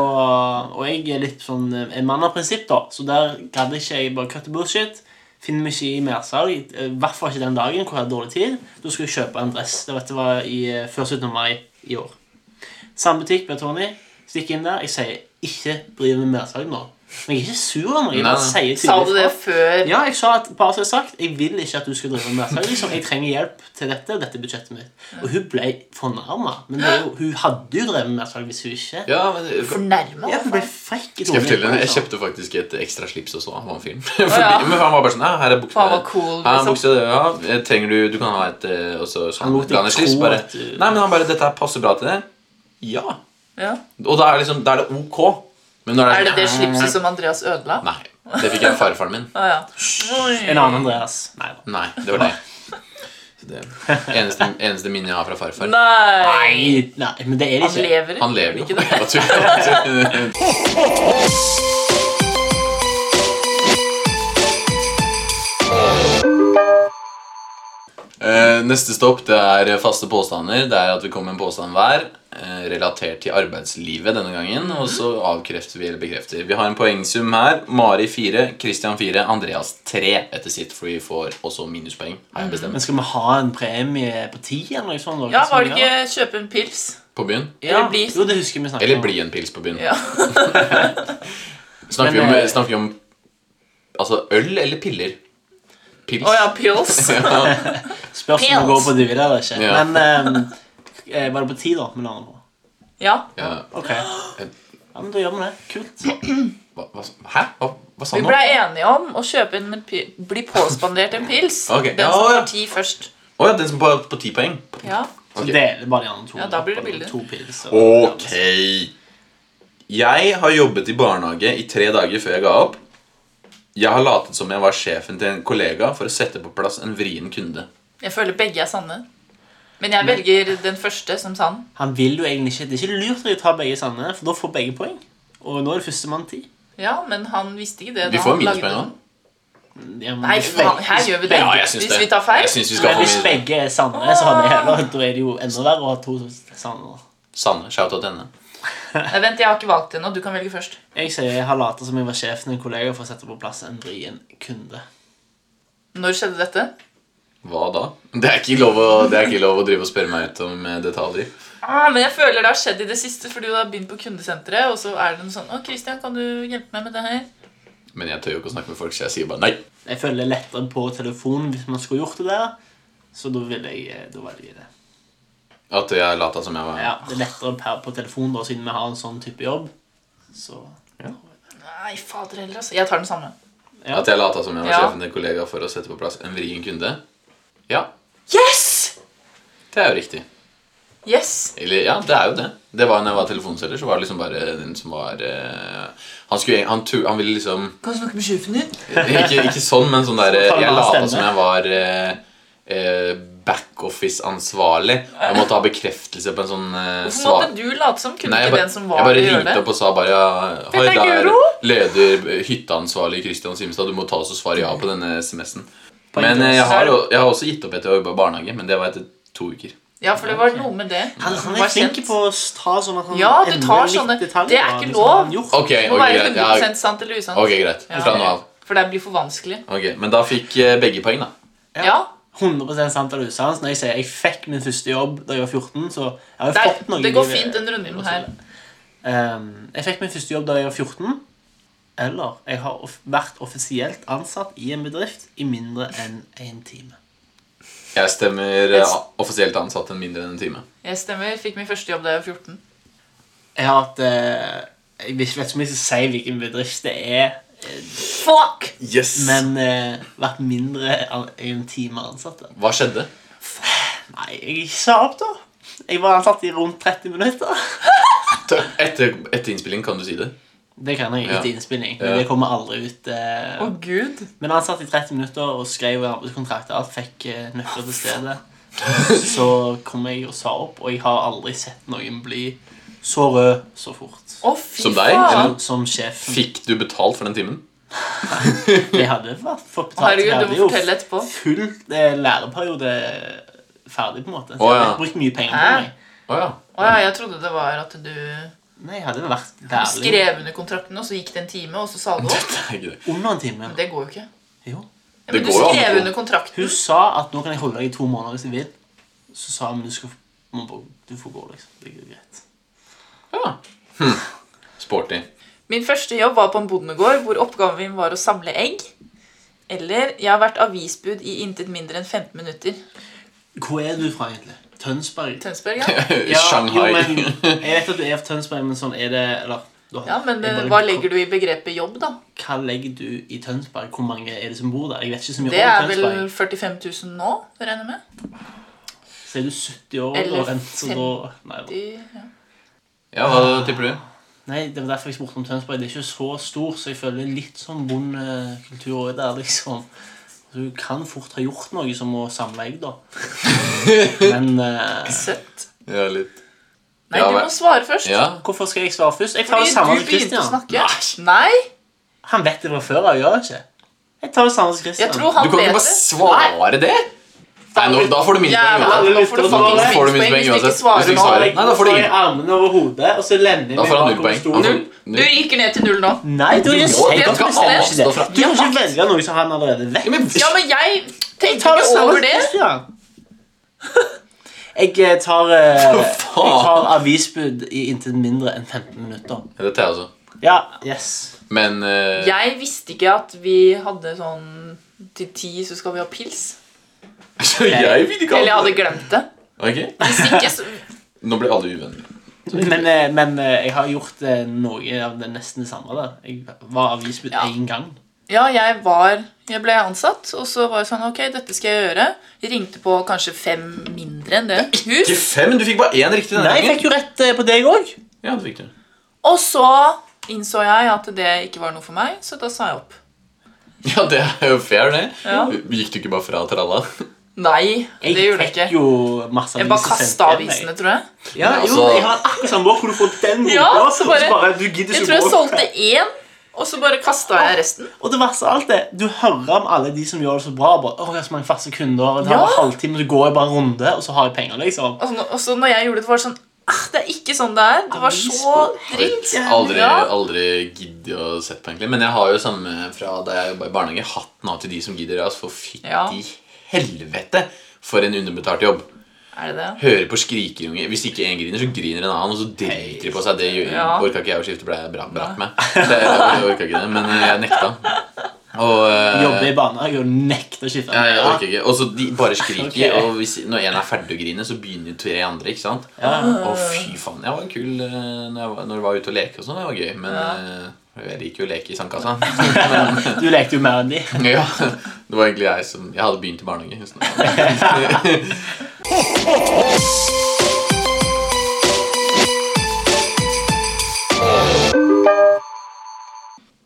Og jeg er litt sånn eh, en mann av prinsipp, da. Så der gadd ikke jeg bare cut the bullshit. Finner meg ikke i mersalg. eh, I hvert fall ikke den dagen hvor jeg hadde dårlig tid. Da skulle jeg kjøpe en dress. Det var- Dette var i, eh, før 17. mai i år. Samme butikk, Bertoni. Stikk inn der. Jeg sier ikke driv med mersalg nå. Men jeg er ikke sur eller noe. Jeg bare Nei, sier Sa du tydelig det fra. før? Ja, jeg sa at bare som jeg har sagt Jeg vil ikke at du skal drive med mersalg. Liksom. Jeg trenger hjelp til dette og dette budsjettet mitt. Og hun ble fornærma. Men det er jo, hun hadde jo drevet med mersalg hvis hun ikke Ja, men, skal Fornærma? Ja, hun ble frekk i jeg fortelle tonen, deg, jeg liksom. kjøpte faktisk et ekstra slips også av han (laughs) fyren. Fordi- Men han var bare sånn Ja, her er buksa. Han var cool, Her er liksom. buksa, ja, trenger du Du kan ha et eh, Og så så Han lot ga han et deg slips. tro Bare, at du- nei, men han bare Dette her passer bra til det. Ja. Ja. Og da er, liksom, da er det ok. Men når det Er det er det sånn «Ah, slipset som Andreas ødela? Nei. Det fikk jeg av farfaren min. Å ja. En annen Andreas. Nei da. Nei, det var det. Så det eneste, eneste minnet jeg har fra farfar. Nei! Nei, nei, men det er det (laughs) Han ikke. lever. Han lever jo. ikke det? Jeg bare tuller. Eh, neste stopp det er faste påstander. Det er at vi kommer med en påstand hver eh, relatert til arbeidslivet denne gangen. Og så avkrefter vi eller bekrefter. Vi har en poengsum her. Mari 4, Christian 4, Andreas 3 etter sitt, for vi får også minuspoeng. Har jeg bestemt. Men skal vi ha en premie på ti eller noe sånt? Ja, var det ikke kjøpe en pils? På byen. Ja. Eller bli? Jo, det husker vi snakket Eller bli en pils på byen. Ja. (laughs) Snakker, Men, vi eh, om, snakker vi om altså øl eller piller? Pils. Å ja, pils. (laughs) ja. Spørs om Pils. vi går på dybde eller ikke. Ja. Men ehm, eh, var det på ti, da? Med andre ord. Ja. ja. Ok. Ja, men da gjør vi det. Kult. Hva, hva, hæ? Hva, hva sa Vi han nå? blei enige om å kjøpe en pi- bli påspandert en pils. Ok. Den Ja, som ja. tar ti først. Å ja, den som på, på ti poeng. Ja. Så Ok. deler bare de andre to. Ja, da blir det billig. To pils. og- Ok. Jeg har jobbet i barnehage i tre dager før jeg ga opp. Jeg har latet som jeg var sjefen til en kollega for å sette på plass en vrien kunde. Jeg føler begge er sanne. Men jeg velger den første som sann. Han vil jo egentlig ikke Det er ikke lurt å ta begge sanne, for da får begge poeng. Og nå er det førstemann ti. Ja, men han visste ikke det. Vi da får han lagde minuspoeng nå. den. Ja, men Nei, hvis faen, begge- her gjør vi det. Ja, jeg syns Hvis det. vi tar feil. Jeg syns vi skal Men få hvis min begge er sanne, så har vi heller Da er det jo enda verre å ha to sanne. Sanne. Shout out til henne. Nei, vent, jeg har ikke valgt ennå. Du kan velge først. Jeg sier jeg har latet som jeg var sjefen til en kollega for å sette på plass en vrien kunde. Når skjedde dette? Hva da? Det er ikke lov å, det er ikke lov å drive og spørre meg ut om eh, detaljer. Ah, men jeg føler det har skjedd i det siste, fordi du har begynt på kundesenteret, og så er det noe sånn Å, Christian, kan du hjelpe meg med det her? Men jeg tør jo ikke å snakke med folk, så jeg sier bare nei. Jeg føler det er lettere på telefon hvis man skulle gjort det der. Så da vil jeg eh, da velger jeg det. At jeg lata som jeg var Ja, Det er lettere per på telefon da, siden vi har en sånn type jobb. Så Nei, fader heller, altså. Jeg tar den samme. Ja. At jeg lata som jeg var Ja. sjefen til en kollega for å sette på plass en vrien kunde. Ja, Yes! det er jo riktig. Yes! Eller ja, det er jo det. Det var Når jeg var telefonselger, så var det liksom bare den som var eh, Han skulle han, tu, han ville liksom (laughs) Kan du snakke med sjefen din? Ikke, ikke sånn, men sånn der Så tar han Jeg av lata stemme. som jeg var eh, eh, backoffice-ansvarlig. Jeg måtte ha bekreftelse på en sånn eh, Hvorfor svar. måtte du late som? Kunne Nei, jeg, ikke bare- den som var jeg bare det gjøre ringte det? opp og sa bare ja, Hei, Dette er der Guro!» leder hytteansvarlig Kristian Simstad. Du må ta oss og svare ja på denne SMS-en. Men Poenget eh, er- jeg har, jo- jeg har også gitt opp etter å jobbe i barnehage, men det var etter to uker. Ja, for det var noe med det. Han, han Var er flink kjent. på å ta sånn at han Ja, du endrer tar litt sånne- detaljer, det er da, ikke liksom lov. han har gjort. Ok, Det ok, må være greit. 100 Ja, sant eller usant. ok, greit. Ja. Fra nå av. For det blir for vanskelig. Ok, Men da fikk eh, begge poeng, da. Ja. Ja, 100 sant eller usant. Når jeg sier jeg fikk min første jobb da jeg var 14, så jeg har jo det, fått er, noe i det går livet. fint den runden her. Ehm, jeg fikk min første jobb da jeg var 14. Eller jeg har off vært offisielt ansatt i en bedrift i mindre enn én time. Jeg stemmer eh, offisielt ansatt en mindre enn en time. Jeg stemmer. Fikk min første jobb da jeg var 14. Jeg har hatt eh, Jeg vet ikke om jeg skal si hvilken bedrift det er, Fuck! Yes! men eh, vært mindre enn en time ansatt. der. Hva skjedde? Nei, jeg sa opp, da. Jeg var ansatt i rundt 30 minutter. Etter, etter innspilling, kan du si det? Det kan jeg Ja. etter innspilling, Ja. men det kommer aldri ut. eh, Å, gud. Men han satt i 30 minutter og skrev i arbeidskontrakt og alt, fikk eh, nøkler (laughs) til stedet. Så kom jeg og sa opp, og jeg har aldri sett noen bli så rød så fort. Å, fy Som deg, faen. eller? Som, som sjefen. Fikk du betalt for den timen? Jeg hadde vært fått betalt. Herregud, Jeg du hadde må jo fortelle etterpå. Full eh, læreperiode ferdig, på en måte. Så Å, jeg ja. hadde brukt mye penger Hæ? på meg. Å ja. Å ja, jeg trodde det var at du Nei, jeg hadde vært lærling skrev under kontrakten, og så gikk det en time, og så sa du opp. Det er ikke det. under en time. Det går jo ikke. Jo. Ja, Det men du går jo an å skrev få- under kontrakten. Hun sa at nå kan jeg holde deg i to måneder hvis jeg vil. Så sa hun du, skal, må bare- du får gå, liksom. Det er greit. Ja. Hm. Sporty. Min første jobb var på en bondegård hvor oppgaven min var å samle egg. Eller jeg har vært avisbud i intet mindre enn 15 minutter. Hvor er du fra, egentlig? Tønsberg? Tønsberg, (laughs) ja. Shanghai. Jo, (laughs) men, jeg vet at du er fra Tønsberg, men sånn er det eller, da- Ja, Men jeg eh, bare- hva legger du i begrepet jobb, da? Hva legger du i Tønsberg? Hvor mange er det som bor der? Jeg vet ikke så mye Det er om vel Tønsberg. 45 000 nå, regner jeg med? Så er du 70 år Eller og rent, så da nei, da- De, ja. Ja, hva tipper du? nei, det var derfor jeg spurte om Tønsberg. Det er ikke så stor, så jeg føler litt sånn bondekultur også der, liksom. Så Du kan fort ha gjort noe som å samle egg, da. Men eh, Søtt. Ja, litt. Nei, Ja, du vel. må svare først. Ja. hvorfor skal jeg svare først? Jeg tar det Fordi samme du som begynte å Christian. snakke. Nei, Han vet det fra før av, gjør han ikke? Jeg tar det samme som Christian. jeg tror han Du kan ikke bare vet det. svare det? Nei, nå, da får du mine Jævla, penger. Alle da lytter får du på fucking det. Da får du minuspoeng minuspoeng hvis du ikke uansett. Hvis svarer du ikke nå. svarer. Jeg Nei, da får du tar i ingen. armene over hodet, og så Da lender vi får han bak null poeng. stolen. Han får- Du rykker ned til null nå. Nei, du har ikke Jo, sagt jeg at du kan bestemmer ikke avstå ikke fra- det. Du kan ikke velge noe som han allerede vet. Ja, men- Ja, men jeg tenkte tar det ikke over det. Christian. Jeg eh, (laughs) tar, eh, jeg tar avisbud i inntil mindre enn 15 minutter. Det tar jeg også. Ja, yes. altså. Men eh, Jeg visste ikke at vi hadde sånn til ti så skal vi ha pils. (laughs) Så jeg vil ikke Eller ha jeg hadde det. glemt det. Ok, Hvis ikke, så Nå ble alle uvenner. Men, eh, men eh, jeg har gjort eh, noe av det nesten det samme. Da. Jeg var avisbud Ja. én gang. Ja, jeg var Jeg ble ansatt, og så var det sånn Ok, dette skal jeg gjøre. Jeg ringte på kanskje fem mindre enn det. Ikke Hus. fem, men du fikk bare én riktig denne Nei, jeg fikk jo rett eh, på deg òg. Ja, du (laughs) fikk det. Og så innså jeg at det ikke var noe for meg, så da sa jeg opp. Ja, det er jo fair, det. Ja. Gikk du ikke bare fra tralla? Nei, det gjorde jeg fikk ikke. jo masse Jeg bare aviser sendt kasta til meg. avisene, tror jeg. Ja, Men jo, altså- jeg har akkurat samme hvor du får den boka, Ja, og så bare- du gidder Jeg ikke tror jeg gå. solgte én, og så bare kasta jeg resten. Og det verste av alt er, du hører om alle de som gjør det så bra. Bare, Åh, jeg har så mange faste kunder, det tar Ja. bare halvtime, så går jeg bare en runde, og så har jeg penger, liksom. Og så, og så når jeg gjorde det, det var det sånn ah, Det er ikke sånn det er. Det var så dritt. Aldri, Ja. aldri giddet å sett på, egentlig. Men jeg har jo samme fra da jeg jobba i barnehage. Hatten av til de som gidder. Altså, for fytti Ja. helvete for en underbetalt jobb. Er det det? Hører på skrikeunger. Hvis ikke én griner, så griner en annen. Og så driter de på seg. Det gjør, Ja. orka ikke jeg å skifte bleie bra- brakk med. Det, jeg orka ikke det, men eh, jeg nekta. Og eh, Jobber i barnehage og nekter å skifte. Ja, jeg orker ikke. Og så de bare skriker, Ok. og hvis, når en er ferdig å grine, så begynner tre andre, ikke sant? Og fy faen, jeg var kul eh, når jeg var, når jeg var ute og leke og sånn, det var gøy, men eh, jeg liker jo å leke i sandkassa. (laughs) Du lekte jo mer enn de. ja, det var egentlig jeg som, jeg hadde begynt i barnehage. hvis noe.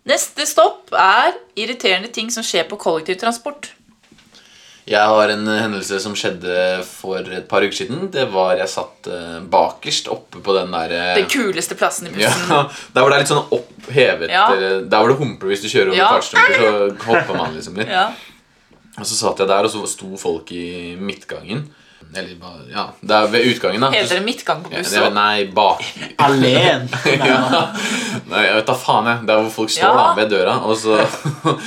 Neste stopp er irriterende ting som skjer på kollektivtransport. Jeg har en eh, hendelse som skjedde for et par uker siden. Det var jeg satt eh, bakerst oppe på den der... eh, Den kuleste plassen i (laughs) Ja, bussen. der hvor det er litt sånn opphevet, Ja. eller der hvor det humper hvis du kjører over Ja. fartsdumper, så hopper man liksom litt. Ja. Og så satt jeg der, og så sto folk i midtgangen. Eller hva- ja, det er ved utgangen, da. Heter det midtgang på Ja, bussen? det- nei, bak Alen. (laughs) ja. Nei, jeg vet da faen, jeg. Det er hvor folk står Ja. da ved døra. Og så, (laughs)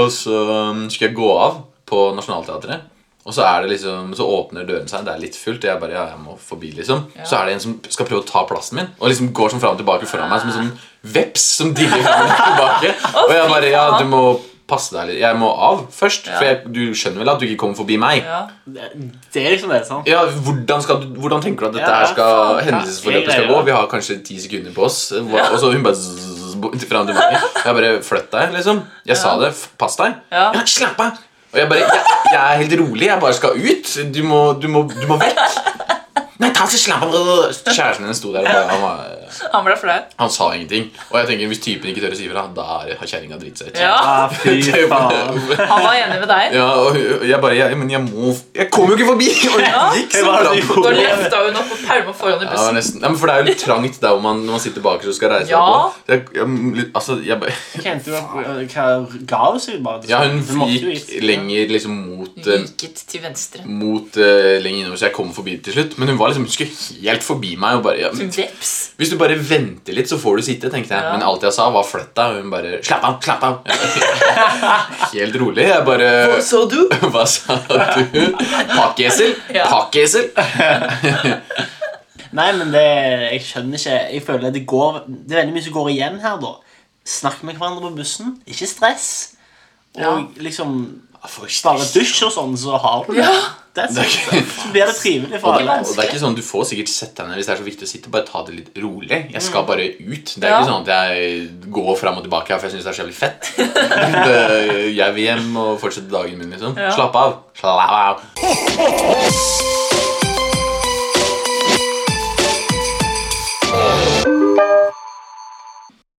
og så um, skal jeg gå av på Nationaltheatret. Og så, er det liksom, så åpner døren seg, det er litt fullt, og jeg bare ja, jeg må forbi. liksom Så er det en som skal prøve å ta plassen min, og liksom går sånn fram og tilbake foran meg som en sånn veps som diller fram og tilbake. Og jeg bare ja, du må passe deg litt. Jeg må av først, for jeg, du skjønner vel at du ikke kommer forbi meg. Ja. Det er liksom det, sant? Ja, hvordan, skal du, hvordan tenker du at dette Ja, her skal faen, ja. hendelsesforløpet skal Jeg gå? greier det. Vi har kanskje ti sekunder på oss. Hva- Og så hun bare zzz, zzz, fram til meg. Jeg bare Flytt deg, liksom. Jeg sa det. f- Pass deg. Ja. Slapp av. Og jeg bare jeg, jeg er helt rolig. Jeg bare skal ut. Du må, du må, du må vekk. Nei, ta så slapp av. Kjæresten hennes sto der og bare han, var, Han ble flau. han sa ingenting. Og jeg tenker, hvis typen ikke tør å si fra, da er- har kjerringa driti seg ut. Ja, Ah, fy faen. han var enig med deg. Ja, og hun- jeg bare jeg, Men jeg må Jeg kom jo ikke forbi! Og hun gikk så Hva er det bra du på Da gjorde? løfta hun opp og pælma foran i Ja, bussen. nesten. Ja, men for det er jo litt trangt der hvor man, når man sitter bakerst og skal reise Ja. seg på. Jeg, jeg, litt- altså, jeg, (laughs) bare- Kjente du at- eh, hva ga hun seg bare? ja, hun Du måtte jo gikk gitt. lenger liksom mot eh, Viket til venstre. mot eh, lenger innover, så jeg kom forbi til slutt. Men hun var liksom, hun skulle helt forbi meg. Og bare, ja, men, Veps. hvis du bare venter litt, så får du sitte, tenkte jeg. Ja. Men alt jeg sa, var flytt deg. Og hun bare Slapp av! Slapp (laughs) av! helt rolig. Jeg bare Så du? (laughs) Hva sa du? (laughs) Pakkeesel? Ja. Pakkeesel? Nei, men det, jeg skjønner ikke. Jeg føler det går, det er veldig mye som går igjen her, da. Snakk med hverandre på bussen. Ikke stress. Og Ja. liksom For bare dusj og sånn, så har du det. That's Det er it. Så blir det trivelig for Og det, alle. og det er ikke sånn, Du får sikkert sett deg ned hvis det er så viktig å sitte. Bare ta det litt rolig. Jeg skal bare ut. Det er Mm. Ja. ikke sånn at jeg går fram og tilbake her, for jeg syns det er så jævlig fett. (laughs) øh, det, jeg vil hjem og fortsette dagen min, liksom. Ja. Slapp av. Slapp av.